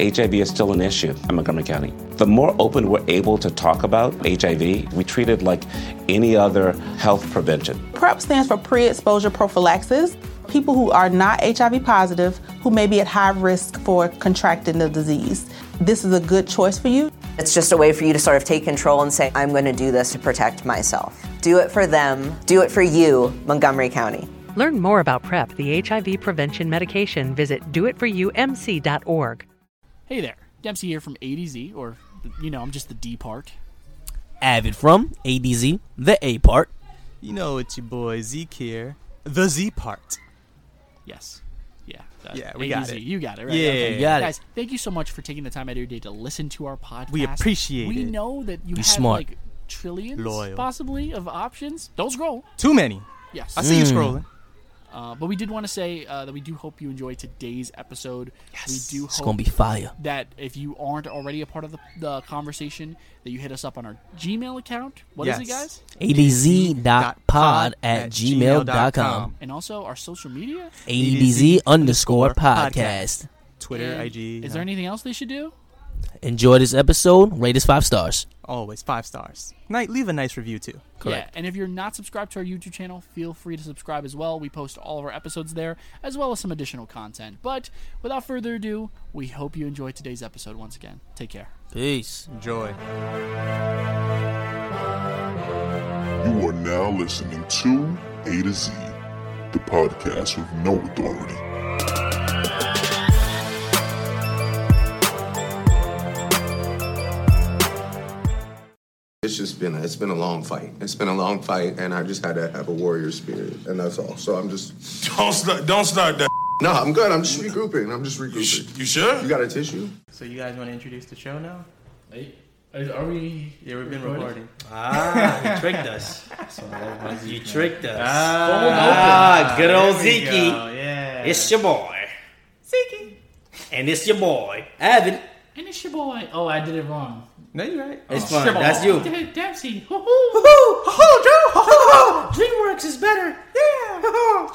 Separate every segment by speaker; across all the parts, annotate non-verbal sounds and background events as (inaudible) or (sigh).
Speaker 1: HIV is still an issue in Montgomery County. The more open we're able to talk about HIV, we treat it like any other health prevention.
Speaker 2: PrEP stands for pre exposure prophylaxis. People who are not HIV positive who may be at high risk for contracting the disease. This is a good choice for you.
Speaker 3: It's just a way for you to sort of take control and say, I'm going to do this to protect myself. Do it for them, do it for you, Montgomery County.
Speaker 4: Learn more about PrEP, the HIV prevention medication. Visit doitforyoumc.org.
Speaker 5: Hey there, Dempsey here from A to Z, or you know, I'm just the D part.
Speaker 6: Avid from ADZ, the A part.
Speaker 7: You know it's your boy Zeke here, the Z part.
Speaker 5: Yes. Yeah.
Speaker 7: Yeah, we
Speaker 5: A
Speaker 7: got
Speaker 5: to Z.
Speaker 7: it.
Speaker 5: You got it, right?
Speaker 7: Yeah,
Speaker 5: okay.
Speaker 7: you got it.
Speaker 5: Guys, thank you so much for taking the time out of your day to listen to our podcast.
Speaker 7: We appreciate
Speaker 5: We
Speaker 7: it.
Speaker 5: know that you
Speaker 6: You
Speaker 5: have
Speaker 6: smart.
Speaker 5: like trillions,
Speaker 7: Loyal.
Speaker 5: possibly, of options. Don't scroll.
Speaker 7: Too many.
Speaker 5: Yes.
Speaker 7: I see
Speaker 6: Hmm.
Speaker 7: you scrolling.
Speaker 5: Uh, but we did want to say uh, that we do hope you enjoy today's episode. Yes. We do
Speaker 6: It's
Speaker 5: hope
Speaker 6: gonna be fire.
Speaker 5: that if you aren't already a part of the, the conversation, that you hit us up on our Gmail account. What is it,
Speaker 7: Yes.
Speaker 5: guys?
Speaker 6: ADZ.pod at
Speaker 7: gmail
Speaker 6: gmail.com.
Speaker 7: dot
Speaker 6: com.
Speaker 7: com. E
Speaker 5: And also our social media.
Speaker 6: ADZ underscore podcast.
Speaker 7: Twitter,
Speaker 5: And
Speaker 7: IG.
Speaker 5: Is there
Speaker 7: uh,
Speaker 5: anything else they should do?
Speaker 6: Enjoy this episode. Rate us five stars.
Speaker 7: Always five stars. Night, leave a nice review too.
Speaker 5: Yeah, and if you're not subscribed to our YouTube channel, feel free to subscribe as well. We post all of our episodes there, as well as some additional content. But without further ado, we hope you enjoyed today's episode once again. Take care.
Speaker 6: Peace.
Speaker 7: Enjoy.
Speaker 8: You are now listening to A to Z, the podcast with no authority.
Speaker 9: It's just been a, it's been a long fight. It's been a long fight, and I just had to have a warrior spirit, and that's all. So I'm just
Speaker 10: Don't start, don't start that.
Speaker 9: no, I'm good. I'm just regrouping. I'm just regrouping.
Speaker 10: You sure?
Speaker 9: You got a tissue?
Speaker 7: So you guys want to introduce the show now?
Speaker 5: Are we?
Speaker 7: Yeah, we've been recording.
Speaker 11: Ah, you tricked us. You tricked us. Ah, good old Zeke.
Speaker 7: yeah.
Speaker 11: It's your boy. Zeke. And it's your boy, Evan.
Speaker 5: And it's your boy. Oh, I did it wrong.
Speaker 7: No, you're right. Oh,
Speaker 11: It's fun. That's you.
Speaker 5: Dempsey.
Speaker 11: DreamWorks is better. Yeah.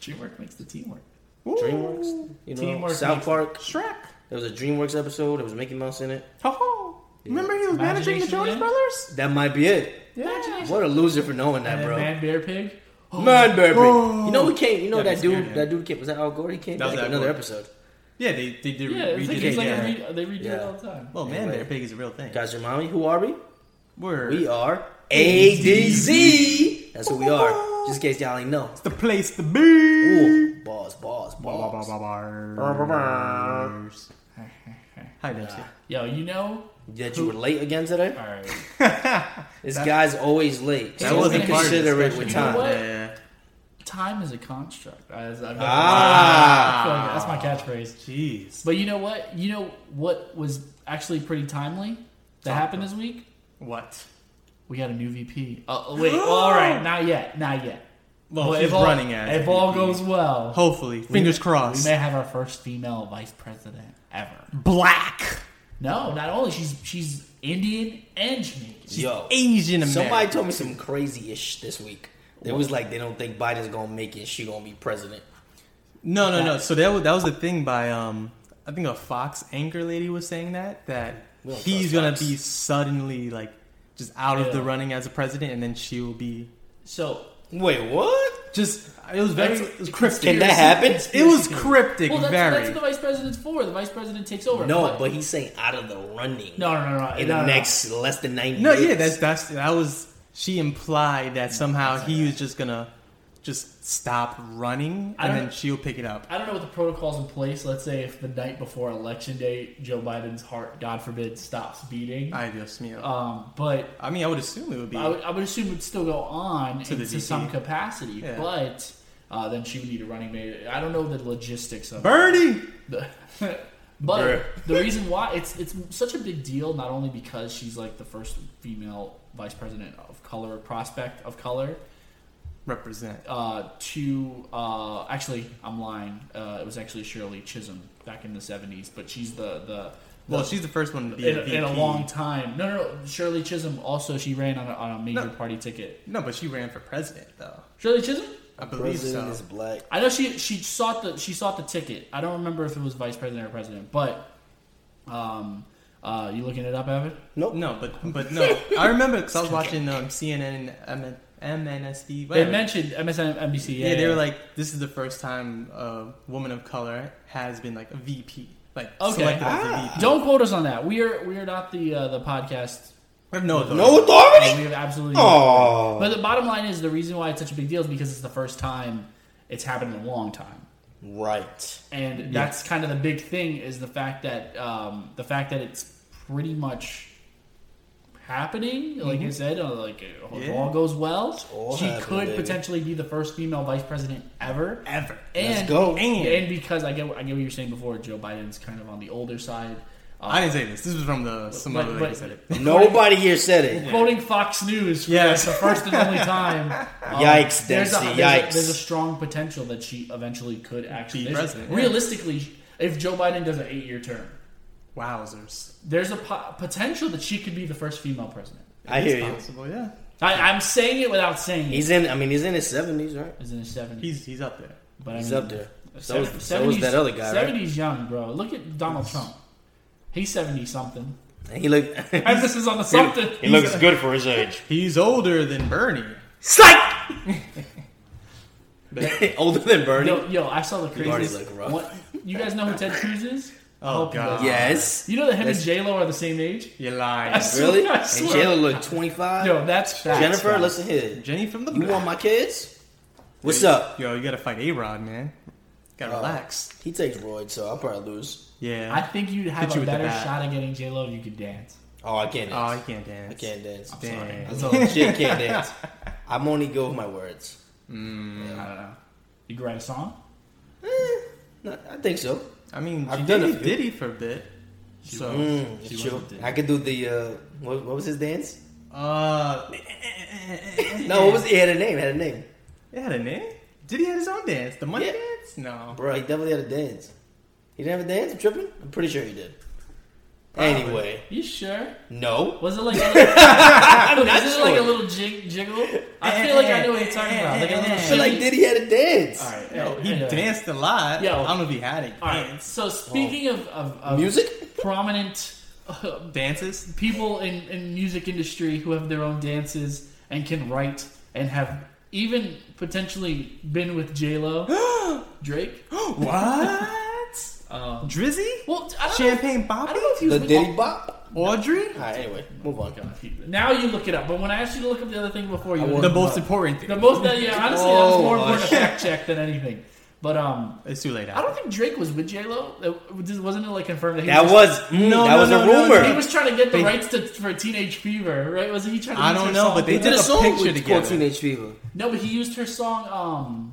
Speaker 5: Dreamwork makes the (laughs) teamwork.
Speaker 11: DreamWorks. You know,
Speaker 5: Teamwork
Speaker 11: South
Speaker 5: makes-
Speaker 11: Park.
Speaker 7: Shrek.
Speaker 11: There was a DreamWorks episode. There was Mickey Mouse in it.
Speaker 7: Ho ho. Remember he was managing the
Speaker 5: Imagination
Speaker 7: Jonas
Speaker 5: again?
Speaker 7: Brothers?
Speaker 11: That might be it.
Speaker 5: Imagination.
Speaker 11: What a loser for knowing that, bro.
Speaker 5: Man, bear, pig.
Speaker 11: Man, baby. You know we came. You know
Speaker 7: That
Speaker 11: that, dude.
Speaker 7: scared him.
Speaker 11: That dude came. Was that Al Gore? He came
Speaker 7: That was
Speaker 11: back
Speaker 7: Al
Speaker 11: another
Speaker 7: Gore.
Speaker 11: episode.
Speaker 7: Yeah, they, they did
Speaker 5: Yeah, it's like,
Speaker 7: redid
Speaker 5: it's
Speaker 7: it.
Speaker 5: like
Speaker 7: yeah.
Speaker 5: a re- they redo it
Speaker 11: Yeah.
Speaker 5: all the time.
Speaker 7: well, man,
Speaker 11: Anyway.
Speaker 7: bear pig is a real thing.
Speaker 11: Guys, remind me who are we?
Speaker 7: We're
Speaker 11: We are ADZ. That's who we are. Just in case y'all ain't know.
Speaker 7: It's the place to be.
Speaker 11: Ooh, balls, balls, balls.
Speaker 7: Bars. Hi, Dempsey.
Speaker 5: Yo, you know.
Speaker 11: Did you were late again today?
Speaker 5: All right.
Speaker 11: This guy's always late.
Speaker 5: That
Speaker 11: That was
Speaker 5: wasn't part of the
Speaker 11: considerate
Speaker 7: discussion.
Speaker 11: with
Speaker 5: You know
Speaker 11: time.
Speaker 5: what?
Speaker 7: Yeah.
Speaker 5: Time is a construct. As I've
Speaker 11: Ah.
Speaker 5: that's my catchphrase.
Speaker 7: Jeez.
Speaker 5: But you know what? You know what was actually pretty timely that happened this week?
Speaker 7: What?
Speaker 5: We got a new VP. Uh, wait, well, all right, (gasps) not yet, not yet.
Speaker 7: Well,
Speaker 5: But
Speaker 7: he's
Speaker 5: all,
Speaker 7: running as
Speaker 5: If all
Speaker 7: VP.
Speaker 5: goes well,
Speaker 7: Hopefully, fingers
Speaker 5: we
Speaker 7: crossed.
Speaker 5: may have our first female vice president ever.
Speaker 7: Black,
Speaker 5: No, not only she's she's Indian and Jamaican.
Speaker 11: Yo,
Speaker 7: Asian American.
Speaker 11: somebody told me some crazy ish this week. It was like they don't think Biden's gonna make it. She gonna be president.
Speaker 7: No, no, no. So that was, that was the thing by um, I think a Fox anchor lady was saying that that
Speaker 11: We don't
Speaker 7: he's
Speaker 11: trust
Speaker 7: gonna
Speaker 11: Fox.
Speaker 7: be suddenly like just out of the
Speaker 5: Yeah.
Speaker 7: running as a president, and then she will be
Speaker 5: So
Speaker 11: Wait, what?
Speaker 7: just. It was very
Speaker 5: That's-
Speaker 7: it was cryptic.
Speaker 11: Can that happen?
Speaker 7: It was cryptic.
Speaker 5: well, that's,
Speaker 7: very.
Speaker 5: that's what the vice president's for. The vice president takes over.
Speaker 11: No, but he's saying out of the running.
Speaker 5: no, no, no, no.
Speaker 11: in
Speaker 5: no,
Speaker 11: the
Speaker 5: no,
Speaker 11: next less than ninety.
Speaker 7: no,
Speaker 11: years.
Speaker 7: yeah, that's that's that was. She implied that somehow he was just gonna just stop running,
Speaker 5: I
Speaker 7: and
Speaker 5: don't-
Speaker 7: then she'll pick it up.
Speaker 5: I don't know what the protocols in place. Let's say if the night before election day, Joe Biden's heart, God forbid, stops beating.
Speaker 7: I just me.
Speaker 5: um, but
Speaker 7: I mean, I would assume it would be.
Speaker 5: I would, I would assume it would still go on
Speaker 7: To
Speaker 5: to,
Speaker 7: the
Speaker 5: to some
Speaker 7: VP.
Speaker 5: capacity.
Speaker 7: Yeah.
Speaker 5: But uh, then she would need a running mate. I don't know the logistics of it.
Speaker 7: Birdie.
Speaker 5: The- (laughs)
Speaker 11: Bruh.
Speaker 5: but the reason why it's it's such a big deal, not only because she's like the first female vice president of color, prospect of color,
Speaker 7: represent.
Speaker 5: uh, to uh, actually I'm lying. Uh, it was actually Shirley Chisholm back in the '70s, but she's the the
Speaker 7: Well, she's the first one to be
Speaker 5: in,
Speaker 7: a VP.
Speaker 5: in a long time. No, no, no. Shirley Chisholm also she ran on a, on a major
Speaker 7: No.
Speaker 5: party ticket.
Speaker 7: No, but she ran for president though.
Speaker 5: Shirley Chisholm?
Speaker 7: I believe
Speaker 11: President
Speaker 7: so.
Speaker 11: is black.
Speaker 5: I know she she sought the she sought the ticket. I don't remember if it was vice president or president, but um, uh, you looking it up, Evan?
Speaker 11: Nope.
Speaker 7: Oh, No, but but no. I remember because
Speaker 11: (laughs)
Speaker 7: I was watching um, CNN and M- MNSD.
Speaker 5: They
Speaker 7: whatever.
Speaker 5: mentioned MSNBC.
Speaker 7: Yeah, they were like, this is the first time a woman of color has been like a VP. Like,
Speaker 5: okay. Ah.
Speaker 7: selected as a VP.
Speaker 5: Don't quote us on that. We are we are not the uh, the podcast.
Speaker 7: We have no authority. No authority?
Speaker 5: We have absolutely
Speaker 7: Aw.
Speaker 5: no authority. But the bottom line is the reason why it's such a big deal is because it's the first time it's happened in a long time.
Speaker 11: Right.
Speaker 5: and that's kind of the big thing is the fact that um, the fact that it's pretty much happening like you
Speaker 11: Mhm.
Speaker 5: said uh, like uh, if
Speaker 11: Yeah.
Speaker 5: all goes well
Speaker 11: all
Speaker 5: she
Speaker 11: happening,
Speaker 5: could
Speaker 11: baby.
Speaker 5: potentially be the first female vice president ever ever and
Speaker 11: Let's go.
Speaker 5: and, because I get I get what you're saying before Joe Biden's kind of on the older side uh,
Speaker 7: I didn't say this. This was from the some
Speaker 5: but-
Speaker 7: other lady
Speaker 5: but-
Speaker 7: said it.
Speaker 11: Nobody here said it.
Speaker 5: quoting Fox News for
Speaker 7: Yes.
Speaker 5: like, the first and
Speaker 11: (laughs)
Speaker 5: only time. um,
Speaker 11: Yikes,
Speaker 5: there's a-
Speaker 11: Dempsey,
Speaker 5: there's a-
Speaker 11: yikes.
Speaker 5: There's a strong potential that she eventually could actually
Speaker 7: Be
Speaker 5: there's-
Speaker 7: president, yeah.
Speaker 5: Realistically, if Joe Biden does an eight-year term,
Speaker 7: Wowzers!
Speaker 5: There's a po- potential that she could be the first female president.
Speaker 11: I hear you.
Speaker 7: Possible, yeah.
Speaker 5: I, I'm saying it without saying
Speaker 11: He's
Speaker 5: it.
Speaker 11: in. I mean, he's in his seventies, right?
Speaker 5: He's in his seventies.
Speaker 7: He's he's up there.
Speaker 5: But
Speaker 11: He's up there. So was, so was that other guy, right?
Speaker 5: Seventies young, bro. Look at Donald Trump. He's seventy something.
Speaker 11: And (laughs) he look.
Speaker 5: Emphasis on the something. He's-
Speaker 11: for his age.
Speaker 7: He's older than Bernie.
Speaker 11: Psych. (laughs) Older than Bernie.
Speaker 5: Yo, yo, I saw the
Speaker 11: You already
Speaker 5: craziest.
Speaker 11: look rough.
Speaker 5: One- you guys know who Ted Cruz is? I
Speaker 7: (laughs) Oh,
Speaker 5: hope you
Speaker 7: God.
Speaker 5: guys know.
Speaker 11: Yes.
Speaker 5: You know that him
Speaker 11: That's-
Speaker 5: and J Lo are the same age.
Speaker 7: You're
Speaker 5: (laughs) I
Speaker 7: lying.
Speaker 5: swear- (laughs)
Speaker 11: Really?
Speaker 5: I
Speaker 11: And
Speaker 5: swear.
Speaker 11: Jalen look twenty five.
Speaker 5: Yo, that's facts,
Speaker 11: Jennifer,
Speaker 5: guys.
Speaker 11: listen here.
Speaker 7: Jenny from the
Speaker 11: You want my kids? What's up?
Speaker 7: Yo, you gotta fight A Rod, man. Gotta
Speaker 11: Oh.
Speaker 7: relax.
Speaker 11: He takes roids, so I'll probably lose.
Speaker 7: Yeah.
Speaker 5: Uh, I think you'd have
Speaker 7: Hit you
Speaker 5: a
Speaker 7: with the
Speaker 5: better
Speaker 7: bat.
Speaker 5: shot of getting J Lo if you could dance.
Speaker 11: Oh, I can't.
Speaker 7: Oh,
Speaker 11: Dance.
Speaker 7: you can't dance.
Speaker 11: I can't dance. I'm
Speaker 7: Damn.
Speaker 11: sorry. I legit can't dance. I'm only go with my words.
Speaker 5: I don't know. You could write a song.
Speaker 11: No, Eh, I think so.
Speaker 7: I mean,
Speaker 11: I've
Speaker 7: she
Speaker 11: done
Speaker 7: did
Speaker 11: a few.
Speaker 7: Diddy for a bit. So,
Speaker 11: Mm,
Speaker 5: She
Speaker 11: chill.
Speaker 5: wasn't
Speaker 11: I could do the uh, what, what was his dance?
Speaker 7: uh, (laughs)
Speaker 11: No, what was it had a name? it Had a name,
Speaker 7: it had a name. Diddy had his own dance. The money
Speaker 11: Yeah.
Speaker 7: dance? No.
Speaker 11: bro. He definitely had a dance. He didn't have a dance. I'm tripping. I'm pretty sure he did. Anyway,
Speaker 5: You sure?
Speaker 11: no.
Speaker 5: Was it like a
Speaker 7: (laughs)
Speaker 5: little,
Speaker 11: I'm not
Speaker 5: is it
Speaker 11: sure.
Speaker 5: like a little jig, jiggle? I
Speaker 7: Eh,
Speaker 5: feel like I know what you're talking about. Like a little
Speaker 11: So,
Speaker 5: shimmy.
Speaker 11: like, did he had a dance?
Speaker 5: All right,
Speaker 7: No,
Speaker 5: yeah,
Speaker 7: eh, he
Speaker 5: yeah.
Speaker 7: danced a lot.
Speaker 5: Yo.
Speaker 7: I don't know if he had a
Speaker 5: All right.
Speaker 7: dance.
Speaker 5: So speaking of, of, of
Speaker 11: Music?
Speaker 5: prominent uh,
Speaker 7: Dances? (gasps)
Speaker 5: people in in music industry who have their own dances and can write and have even potentially been with J Lo,
Speaker 7: (gasps)
Speaker 5: Drake.
Speaker 7: what?
Speaker 5: (laughs) Um,
Speaker 7: Drizzy?
Speaker 5: well, I don't
Speaker 7: Champagne
Speaker 5: Know if, I
Speaker 7: Bobby?
Speaker 5: don't know if he
Speaker 11: The
Speaker 5: was
Speaker 11: Diddy bop.
Speaker 7: Audrey?
Speaker 11: All right. Anyway,
Speaker 5: Oh
Speaker 11: move on.
Speaker 5: with, Now you look it up, but when I asked you to look up the other thing before, you looked
Speaker 7: The
Speaker 5: it
Speaker 7: most
Speaker 5: up.
Speaker 7: important thing.
Speaker 5: The most that yeah, honestly, that was
Speaker 11: Oh,
Speaker 5: more important
Speaker 11: gosh.
Speaker 5: to fact check than anything. But um,
Speaker 7: it's too late.
Speaker 5: I don't think Drake was with J Lo. Wasn't it like confirmed that he
Speaker 11: That was mm,
Speaker 7: No,
Speaker 11: that
Speaker 7: no,
Speaker 11: was
Speaker 7: no,
Speaker 11: a
Speaker 7: no,
Speaker 11: rumor.
Speaker 7: no.
Speaker 5: He was trying to get the
Speaker 7: They-
Speaker 5: rights to, for Teenage Fever, right? Wasn't he trying? to
Speaker 7: I
Speaker 5: use
Speaker 7: don't
Speaker 5: her
Speaker 7: know,
Speaker 5: song?
Speaker 7: but they
Speaker 11: They
Speaker 7: did
Speaker 11: did
Speaker 7: a
Speaker 11: a song
Speaker 7: picture
Speaker 11: with
Speaker 7: together.
Speaker 11: called Teenage Fever.
Speaker 5: No, but he used her song. Um,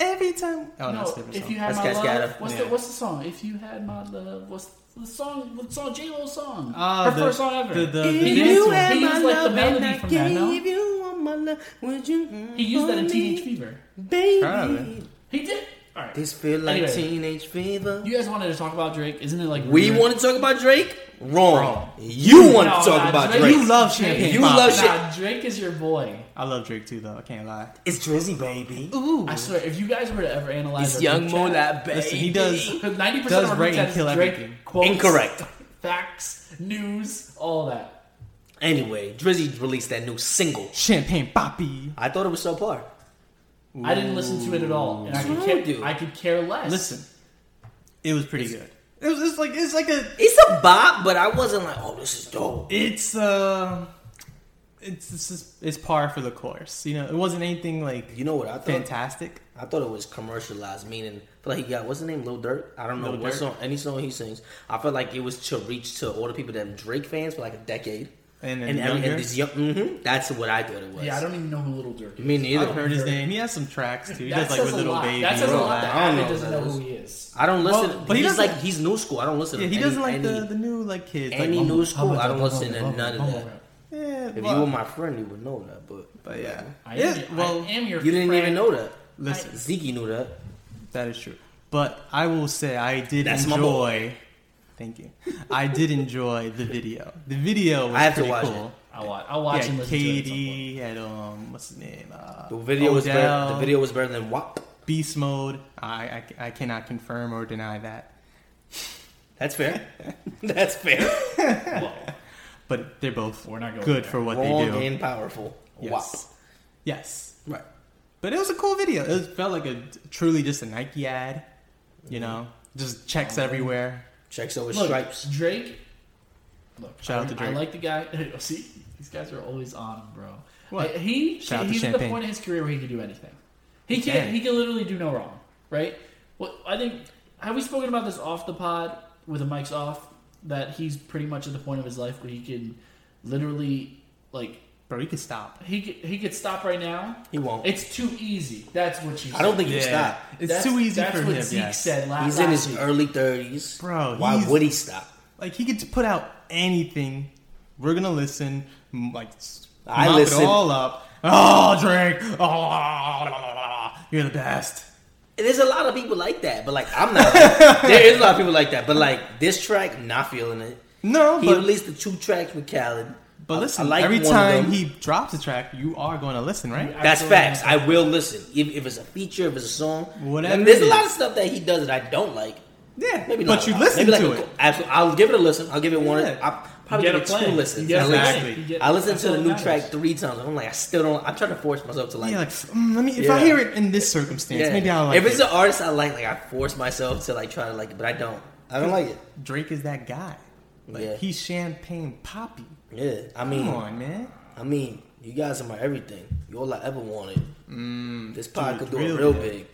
Speaker 7: Every time. Oh, no,
Speaker 5: no,
Speaker 7: it's a different
Speaker 5: if
Speaker 7: song.
Speaker 5: you had
Speaker 11: That's
Speaker 5: my
Speaker 11: Cascada.
Speaker 5: love, what's the
Speaker 7: Yeah.
Speaker 5: what's the song? If you had my love, what's the song? What song? J Lo song.
Speaker 7: Ah,
Speaker 5: her
Speaker 7: the-
Speaker 5: first song ever.
Speaker 7: the- the-
Speaker 5: he
Speaker 7: the
Speaker 5: used,
Speaker 7: dance
Speaker 5: he
Speaker 7: one.
Speaker 5: used, like the
Speaker 11: and
Speaker 5: melody
Speaker 11: I
Speaker 5: from that. No,
Speaker 11: gave you all my love, would you
Speaker 5: he used that in
Speaker 11: for
Speaker 5: Teenage
Speaker 11: me,
Speaker 5: Fever.
Speaker 11: Baby,
Speaker 7: Probably.
Speaker 5: He did. All right.
Speaker 11: this feel like
Speaker 5: Anyway.
Speaker 11: teenage fever.
Speaker 5: you guys wanted to talk about Drake, isn't it? Like
Speaker 11: We
Speaker 5: weird?
Speaker 11: want to talk about Drake. Wrong.
Speaker 7: Wrong.
Speaker 11: You want
Speaker 5: No,
Speaker 11: to talk
Speaker 5: nah,
Speaker 11: about
Speaker 5: Drake-
Speaker 11: Drake.
Speaker 7: You love champagne.
Speaker 11: You
Speaker 7: Pop.
Speaker 11: love
Speaker 5: Nah,
Speaker 11: shit.
Speaker 5: Drake is your boy.
Speaker 7: I love Drake too, though. I can't lie.
Speaker 11: It's Drizzy, baby.
Speaker 5: I swear, if you guys were to ever analyze
Speaker 11: It's
Speaker 5: our
Speaker 11: Young
Speaker 5: group
Speaker 11: Mo,
Speaker 5: chat-
Speaker 11: that baby.
Speaker 7: Listen, he does.
Speaker 5: (laughs) Ninety percent
Speaker 7: Does
Speaker 5: of our
Speaker 7: rate
Speaker 5: group
Speaker 7: and
Speaker 5: chat is
Speaker 7: kill
Speaker 5: Drake
Speaker 7: everything.
Speaker 5: quotes,
Speaker 11: Incorrect.
Speaker 5: facts, news, all that.
Speaker 11: Anyway, Drizzy released that new single.
Speaker 7: Champagne Poppy.
Speaker 11: I thought it was subpar.
Speaker 5: I didn't listen to it at all, and I
Speaker 11: What's
Speaker 5: could,
Speaker 11: wrong
Speaker 5: care,
Speaker 11: with you?
Speaker 5: I could care less.
Speaker 7: Listen, it was pretty good. It was it's like it's like a
Speaker 11: It's a bop, but I wasn't like, oh, this is dope.
Speaker 7: it's uh it's it's just, it's par for the course. You know, it wasn't anything like
Speaker 11: You know what I thought?
Speaker 7: fantastic.
Speaker 11: I thought it was commercialized, meaning I feel like he got what's his name, Lil Durk. I don't know
Speaker 7: Lil
Speaker 11: what
Speaker 7: Durk.
Speaker 11: song, any song he sings. I felt like it was to reach to all the people that are Drake fans for like a decade.
Speaker 7: And then
Speaker 11: and, every,
Speaker 7: younger.
Speaker 11: and this young, hmm that's what I thought it was.
Speaker 5: yeah, I don't even know who Little Durk is.
Speaker 11: Me
Speaker 7: I
Speaker 11: neither.
Speaker 7: have heard his name. He has some tracks too. He
Speaker 5: that
Speaker 7: does like
Speaker 5: says
Speaker 7: with
Speaker 5: a
Speaker 7: little
Speaker 5: lot.
Speaker 7: baby.
Speaker 5: That says a
Speaker 11: bro.
Speaker 5: lot that
Speaker 11: I don't
Speaker 5: Abby
Speaker 11: know
Speaker 5: doesn't
Speaker 11: who
Speaker 5: know
Speaker 11: that
Speaker 5: who
Speaker 11: is.
Speaker 5: he is.
Speaker 11: I don't listen.
Speaker 7: Well,
Speaker 11: but
Speaker 7: but he
Speaker 11: he's
Speaker 7: doesn't-
Speaker 11: like he's new school. I don't listen.
Speaker 7: yeah,
Speaker 11: to
Speaker 7: he
Speaker 11: any,
Speaker 7: doesn't like
Speaker 11: any,
Speaker 7: the, the new like kids. like,
Speaker 11: any new school. I don't
Speaker 5: Bubba,
Speaker 11: listen to
Speaker 5: Bubba,
Speaker 11: none of
Speaker 5: Bubba,
Speaker 11: that.
Speaker 5: Bubba.
Speaker 7: Yeah,
Speaker 11: If you
Speaker 7: well,
Speaker 11: were my friend, you would know that. But
Speaker 7: but yeah,
Speaker 11: I
Speaker 5: I
Speaker 7: yeah.
Speaker 5: am,
Speaker 7: well,
Speaker 5: I am your
Speaker 11: you didn't
Speaker 5: friend.
Speaker 11: even know that.
Speaker 7: listen,
Speaker 11: Zeke knew that.
Speaker 7: that is true. But I will say I did
Speaker 11: That's my
Speaker 7: enjoy Thank you. I did enjoy the video. The video was
Speaker 12: I have to
Speaker 7: pretty
Speaker 12: watch
Speaker 7: cool.
Speaker 12: it. I'll watch- I'll watch
Speaker 7: yeah,
Speaker 12: and listen to it at some
Speaker 7: KD had um, what's his name? Uh,
Speaker 12: The video was better-
Speaker 7: Odell.
Speaker 12: the video was better than WAP.
Speaker 7: Beast mode. I, I I cannot confirm or deny that.
Speaker 12: That's
Speaker 11: (laughs)
Speaker 12: fair. That's (laughs) fair.
Speaker 7: but they're both
Speaker 12: We're not going
Speaker 7: good
Speaker 12: there.
Speaker 7: for what
Speaker 12: Wrong
Speaker 7: they do.
Speaker 12: and powerful.
Speaker 7: Yes.
Speaker 12: WAP.
Speaker 7: Yes. Right. But it was a cool video. It felt like a truly just a Nike ad.
Speaker 12: Mm-hmm.
Speaker 7: You know, just checks everywhere.
Speaker 11: Checks over
Speaker 5: Look, Drake. Look,
Speaker 7: Shout
Speaker 5: I,
Speaker 7: out to
Speaker 5: I
Speaker 7: Drake.
Speaker 5: like the guy. (laughs) See, these guys are always on him, bro.
Speaker 7: What?
Speaker 5: I- He
Speaker 7: Shout out to
Speaker 5: he's at the
Speaker 7: Champagne.
Speaker 5: point in his career where he can do anything. He
Speaker 7: He
Speaker 5: can
Speaker 7: can.
Speaker 5: he can literally do no wrong, right? Well, I think have we spoken about this off the pod with the mics off that he's pretty much at the point of his life where he can literally like
Speaker 7: bro, he could stop.
Speaker 5: He could, he could stop right now.
Speaker 11: He won't.
Speaker 5: It's too easy. That's what you.
Speaker 11: I don't think he'll
Speaker 5: said.
Speaker 11: stop.
Speaker 5: That's- That's what Zeke said last.
Speaker 11: He's in
Speaker 5: last
Speaker 11: his
Speaker 5: week.
Speaker 11: early thirties,
Speaker 7: Bro,
Speaker 11: Why
Speaker 7: he's-
Speaker 11: would he stop?
Speaker 7: Like he could put out anything. We're gonna listen. m- Like s-
Speaker 11: I
Speaker 7: mop
Speaker 11: listen.
Speaker 7: it all up. Oh, Drake. Oh, la, la, la, la, la. you're the best.
Speaker 11: There's a lot of people like that, but like I'm
Speaker 7: (laughs)
Speaker 11: not. there is a lot of people like that, but like this track, not feeling it.
Speaker 7: No,
Speaker 11: he
Speaker 7: but-
Speaker 11: released the two tracks with Khaled.
Speaker 7: But
Speaker 11: I-
Speaker 7: listen,
Speaker 11: I like
Speaker 7: every
Speaker 11: one of
Speaker 7: time
Speaker 11: them.
Speaker 7: he drops a track, you are going to listen, right?
Speaker 11: That's facts. I will listen if, if it's a feature, if it's a song.
Speaker 7: Whatever
Speaker 11: And there's
Speaker 7: it
Speaker 11: a lot of
Speaker 7: is.
Speaker 11: stuff that he does that I don't like.
Speaker 7: Yeah,
Speaker 11: maybe
Speaker 7: but
Speaker 11: not a
Speaker 7: you
Speaker 11: lot. maybe
Speaker 7: listen
Speaker 11: like
Speaker 7: to
Speaker 11: a-
Speaker 7: it.
Speaker 11: Absolutely, I'll give it a listen. I'll give it one.
Speaker 7: Yeah.
Speaker 11: I'll probably
Speaker 7: You get
Speaker 11: give it
Speaker 7: a
Speaker 11: two
Speaker 7: plan.
Speaker 11: listens.
Speaker 7: You get
Speaker 11: at
Speaker 7: a
Speaker 11: least.
Speaker 7: plan. You get-
Speaker 11: I listened to
Speaker 7: that's
Speaker 11: the
Speaker 7: all
Speaker 11: new
Speaker 7: that
Speaker 11: track three times. I'm like, I still don't. I'm trying to force myself to like.
Speaker 7: yeah,
Speaker 11: it.
Speaker 7: like mm, let me. If I
Speaker 11: Yeah.
Speaker 7: hear it in this circumstance,
Speaker 11: Yeah.
Speaker 7: maybe I'll like
Speaker 11: if it's
Speaker 7: it.
Speaker 11: an artist I like, like I force myself to like try to like it, but I don't. I don't like it.
Speaker 7: Drake is that guy. Like
Speaker 11: Yeah.
Speaker 7: he's champagne poppy.
Speaker 11: Yeah, I mean,
Speaker 7: Come on, man.
Speaker 11: I mean, you guys are my everything. You all I ever wanted.
Speaker 7: Mm,
Speaker 11: this pod
Speaker 7: do it
Speaker 11: could do it
Speaker 7: real
Speaker 11: real
Speaker 7: big.
Speaker 11: big,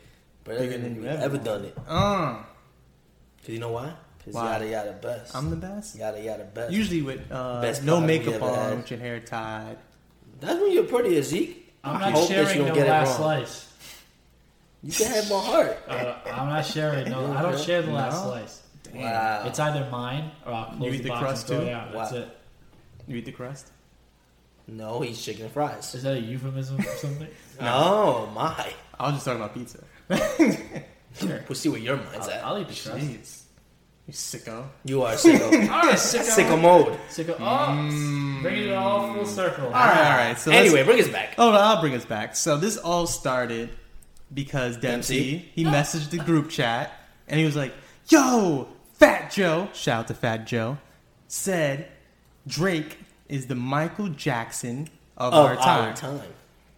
Speaker 11: better
Speaker 7: Bigger
Speaker 11: than
Speaker 7: than
Speaker 11: you
Speaker 7: you ever
Speaker 11: ever done it.
Speaker 7: Uh,
Speaker 11: Cause you know why? Cause
Speaker 7: Why?
Speaker 11: yada yada best.
Speaker 7: I'm the best.
Speaker 11: Yada yada best.
Speaker 7: Usually with uh,
Speaker 11: Best
Speaker 7: no
Speaker 11: product we
Speaker 7: makeup
Speaker 11: ever
Speaker 7: on,
Speaker 11: had.
Speaker 7: with your hair tied.
Speaker 11: That's when you're pretty, Zeke.
Speaker 5: I'm
Speaker 11: I
Speaker 5: not
Speaker 11: hope that you
Speaker 5: sharing
Speaker 11: don't
Speaker 5: no
Speaker 11: get it
Speaker 5: last
Speaker 11: wrong.
Speaker 5: slice.
Speaker 11: You can have my heart.
Speaker 5: Uh, I'm not sharing. No, I don't share the last slice.
Speaker 11: Wow.
Speaker 5: It's either mine or I'll close
Speaker 7: You
Speaker 5: the,
Speaker 7: eat the
Speaker 5: box
Speaker 7: crust
Speaker 5: and throw
Speaker 7: too?
Speaker 5: it out. That's
Speaker 11: Uh, Wow.
Speaker 5: it.
Speaker 7: You eat the crust.
Speaker 11: No, he's chicken and fries.
Speaker 5: Is that a euphemism or something?
Speaker 11: (laughs) No, my.
Speaker 7: I was just talking about
Speaker 11: (laughs)
Speaker 7: pizza.
Speaker 11: We'll see where your mind's at.
Speaker 5: I'll eat the crust.
Speaker 7: Jeez, you sicko.
Speaker 11: You are sicko.
Speaker 7: (laughs)
Speaker 5: All right, sicko.
Speaker 11: Sicko mode.
Speaker 5: Sicko.
Speaker 7: Mm.
Speaker 5: Oh, bringing it all full circle.
Speaker 11: Ah.
Speaker 7: All right, all right. So let's-
Speaker 11: Anyway, bring us back.
Speaker 7: Oh, no, I'll bring us back. So this all started because Dempsey,
Speaker 11: Dempsey?
Speaker 7: he messaged the group chat and he was like, "Yo, Fat Joe, shout out to Fat Joe, said Drake is the Michael Jackson of,
Speaker 11: Of
Speaker 7: Oh, our
Speaker 11: our
Speaker 7: time."
Speaker 11: time.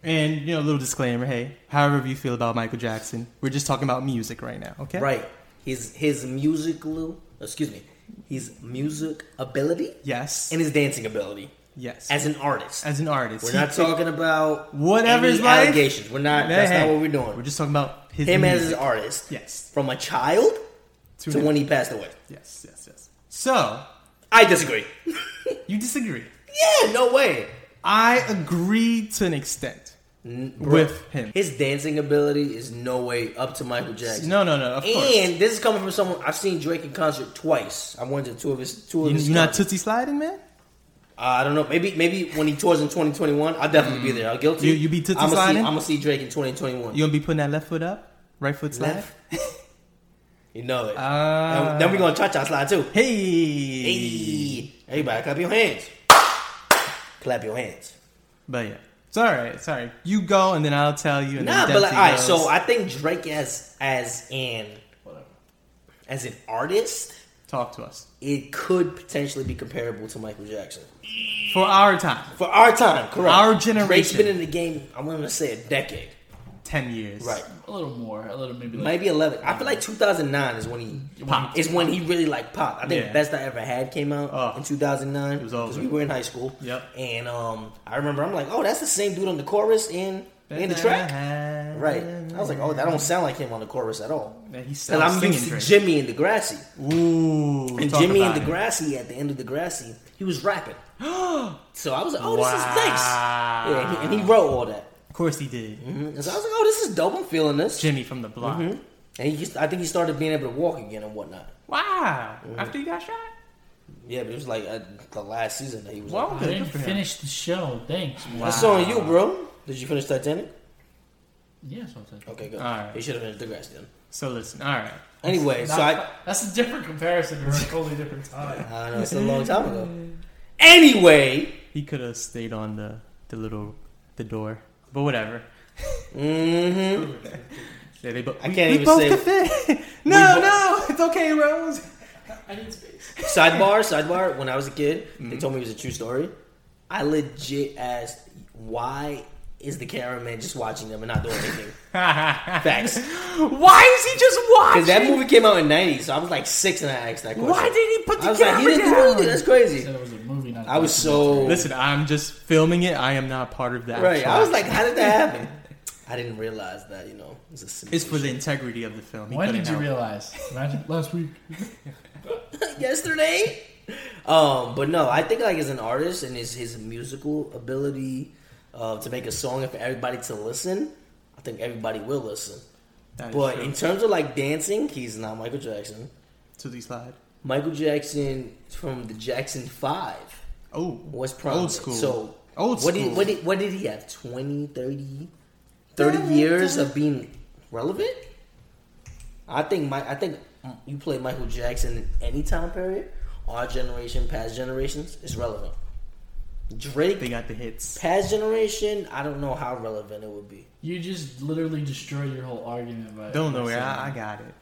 Speaker 7: And you know, a little disclaimer, hey, however you feel about Michael Jackson, we're just talking about music right now, okay?
Speaker 11: Right. His his musical excuse me. His music ability
Speaker 7: Yes.
Speaker 11: and his dancing ability.
Speaker 7: yes.
Speaker 11: As an artist.
Speaker 7: As an artist,
Speaker 11: We're
Speaker 7: he
Speaker 11: not
Speaker 7: took
Speaker 11: talking about
Speaker 7: whatever's
Speaker 11: any
Speaker 7: life.
Speaker 11: allegations. We're not
Speaker 7: Hey,
Speaker 11: that's
Speaker 7: hey,
Speaker 11: not what we're doing.
Speaker 7: We're just talking about his
Speaker 11: Him as
Speaker 7: music.
Speaker 11: an artist.
Speaker 7: Yes.
Speaker 11: From a child
Speaker 7: To
Speaker 11: to,
Speaker 7: now.
Speaker 11: when he passed away.
Speaker 7: Yes, yes, yes. So
Speaker 11: I disagree. (laughs)
Speaker 7: you disagree.
Speaker 11: Yeah, no way.
Speaker 7: I agree to an extent with him.
Speaker 11: His dancing ability is no way up to Michael Jackson.
Speaker 7: No, no, no. Of course.
Speaker 11: And this is coming from someone I've seen Drake in concert twice. I went to two of his two of
Speaker 7: You,
Speaker 11: his.
Speaker 7: you not
Speaker 11: concerts.
Speaker 7: tootsie sliding, man?
Speaker 11: Uh, I don't know. Maybe maybe when he tours in 2021, I'll definitely be there. I'll guilty.
Speaker 7: Mm. You- you be tootsie
Speaker 11: I'm gonna see,
Speaker 7: sliding?
Speaker 11: I'm gonna see Drake in 2021.
Speaker 7: You gonna be putting that left foot up, right foot
Speaker 11: (laughs)
Speaker 7: slide?
Speaker 11: Left. (laughs) You know it.
Speaker 7: Ah.
Speaker 11: And then we're gonna cha cha slide too.
Speaker 7: Hey.
Speaker 11: Hey, everybody, clap your hands. Clap your hands.
Speaker 7: But yeah, it's all right. It's all right. You go, and then I'll tell you. And
Speaker 11: Nah,
Speaker 7: then
Speaker 11: but like, all
Speaker 7: Dempsey
Speaker 11: right.
Speaker 7: goes.
Speaker 11: So I think Drake as as an as an artist,
Speaker 7: talk to us
Speaker 11: it could potentially be comparable to Michael Jackson.
Speaker 7: for our time,
Speaker 11: For our time, correct.
Speaker 7: Our
Speaker 11: Drake's
Speaker 7: generation.
Speaker 11: been in the game, I'm going to say a decade.
Speaker 7: ten years.
Speaker 11: Right.
Speaker 5: A little more. A little maybe. Like,
Speaker 11: Maybe 11. I feel like 2009 is when he
Speaker 7: Popped.
Speaker 11: is when he really like popped. I think
Speaker 7: Yeah.
Speaker 11: Best I Ever Had came out
Speaker 7: Oh.
Speaker 11: in 2009
Speaker 7: was
Speaker 11: because
Speaker 7: over.
Speaker 11: we were in high school.
Speaker 7: Yep.
Speaker 11: And um I remember I'm like, "Oh, that's the same dude on the chorus in in the track." Right. I was like, "Oh, that don't sound like him on the chorus at all."
Speaker 7: Yeah, he's
Speaker 11: And
Speaker 7: still
Speaker 11: I'm
Speaker 7: singing
Speaker 11: used to
Speaker 7: Drake.
Speaker 11: Jimmy and Degrassi.
Speaker 7: Ooh.
Speaker 11: And
Speaker 7: talk
Speaker 11: Jimmy and
Speaker 7: about it.
Speaker 11: Degrassi at the end of Degrassi, he was
Speaker 7: (gasps)
Speaker 11: rapping. so I was like, "Oh, this is
Speaker 7: Wow.
Speaker 11: nice." Yeah, and he, and he wrote all that.
Speaker 7: Of course he did.
Speaker 11: And so I was like, oh, this is dope. I'm feeling this.
Speaker 7: Jimmy from the block.
Speaker 11: Mm-hmm. And he, just- I think he started being able to walk again and whatnot.
Speaker 7: Wow. After you got shot.
Speaker 11: Mm-hmm. Yeah, but it was like uh, the last season that he was.
Speaker 7: Wow.
Speaker 11: Like,
Speaker 5: I
Speaker 7: Good
Speaker 5: didn't
Speaker 7: for him.
Speaker 5: finish the show. Thanks.
Speaker 11: That's on you, bro. Did you finish Titanic?
Speaker 5: Yeah, that's what I'm saying.
Speaker 11: Okay, good.
Speaker 7: All right.
Speaker 11: You should have finished the grass then.
Speaker 7: So listen, all right.
Speaker 11: Anyway, so I-
Speaker 5: that's a different comparison. You're a totally different
Speaker 11: (laughs)
Speaker 5: time.
Speaker 11: I know it's a
Speaker 7: (laughs)
Speaker 11: long time ago.
Speaker 7: Anyway, he could have stayed on the the little the door, but whatever.
Speaker 11: Mm-hmm.
Speaker 7: yeah, they bo-
Speaker 11: I
Speaker 7: we-
Speaker 11: can't
Speaker 7: we
Speaker 11: even
Speaker 7: both
Speaker 11: say-
Speaker 7: could fit.
Speaker 11: We
Speaker 7: (laughs) no,
Speaker 11: bo-
Speaker 7: no, it's okay, Rose. (laughs)
Speaker 5: I need space.
Speaker 11: Sidebar, sidebar. When I was a kid,
Speaker 7: Mm-hmm.
Speaker 11: they told me it was a true story. I legit asked, why is the cameraman just watching them and not doing
Speaker 7: (laughs)
Speaker 11: anything? Facts.
Speaker 7: Why is he just watching?
Speaker 11: Because that movie came out in '90, so I was like six, and I asked that question.
Speaker 7: Why did he put the
Speaker 11: I was like, he
Speaker 7: camera
Speaker 11: didn't do
Speaker 7: down?
Speaker 11: anything. That's crazy.
Speaker 5: It was a movie, not a
Speaker 11: I was so
Speaker 7: Listen, I'm just filming it. I am not part of that.
Speaker 11: Oh. right. I was like, how did that happen? I didn't realize that. You know, it's a simulation.
Speaker 7: It's for the integrity of the film. He
Speaker 11: When
Speaker 7: couldn't
Speaker 11: did you
Speaker 7: help it.
Speaker 5: Realize. Imagine last week.
Speaker 11: yesterday. Um, but no, I think like as an artist and his his musical ability uh, to make a song and for everybody to listen, I think everybody will listen.
Speaker 7: That is
Speaker 11: but
Speaker 7: true.
Speaker 11: in terms of like dancing, he's not Michael Jackson.
Speaker 7: To the slide.
Speaker 11: Michael Jackson from the Jackson Five.
Speaker 7: Oh,
Speaker 11: was prominent.
Speaker 7: old school.
Speaker 11: So
Speaker 7: Old
Speaker 11: What
Speaker 7: school.
Speaker 11: did what did, what did he have? 20, 30, 30 years of being relevant. I think my I think you play Michael Jackson in any time period, our generation, past generations is relevant. Drake,
Speaker 7: they got the hits.
Speaker 11: Past generation, I don't know how relevant it would be.
Speaker 5: You just literally destroy your whole argument. By
Speaker 7: Don't
Speaker 5: by
Speaker 7: worry,
Speaker 5: saying
Speaker 7: I, I
Speaker 5: that.
Speaker 7: got it.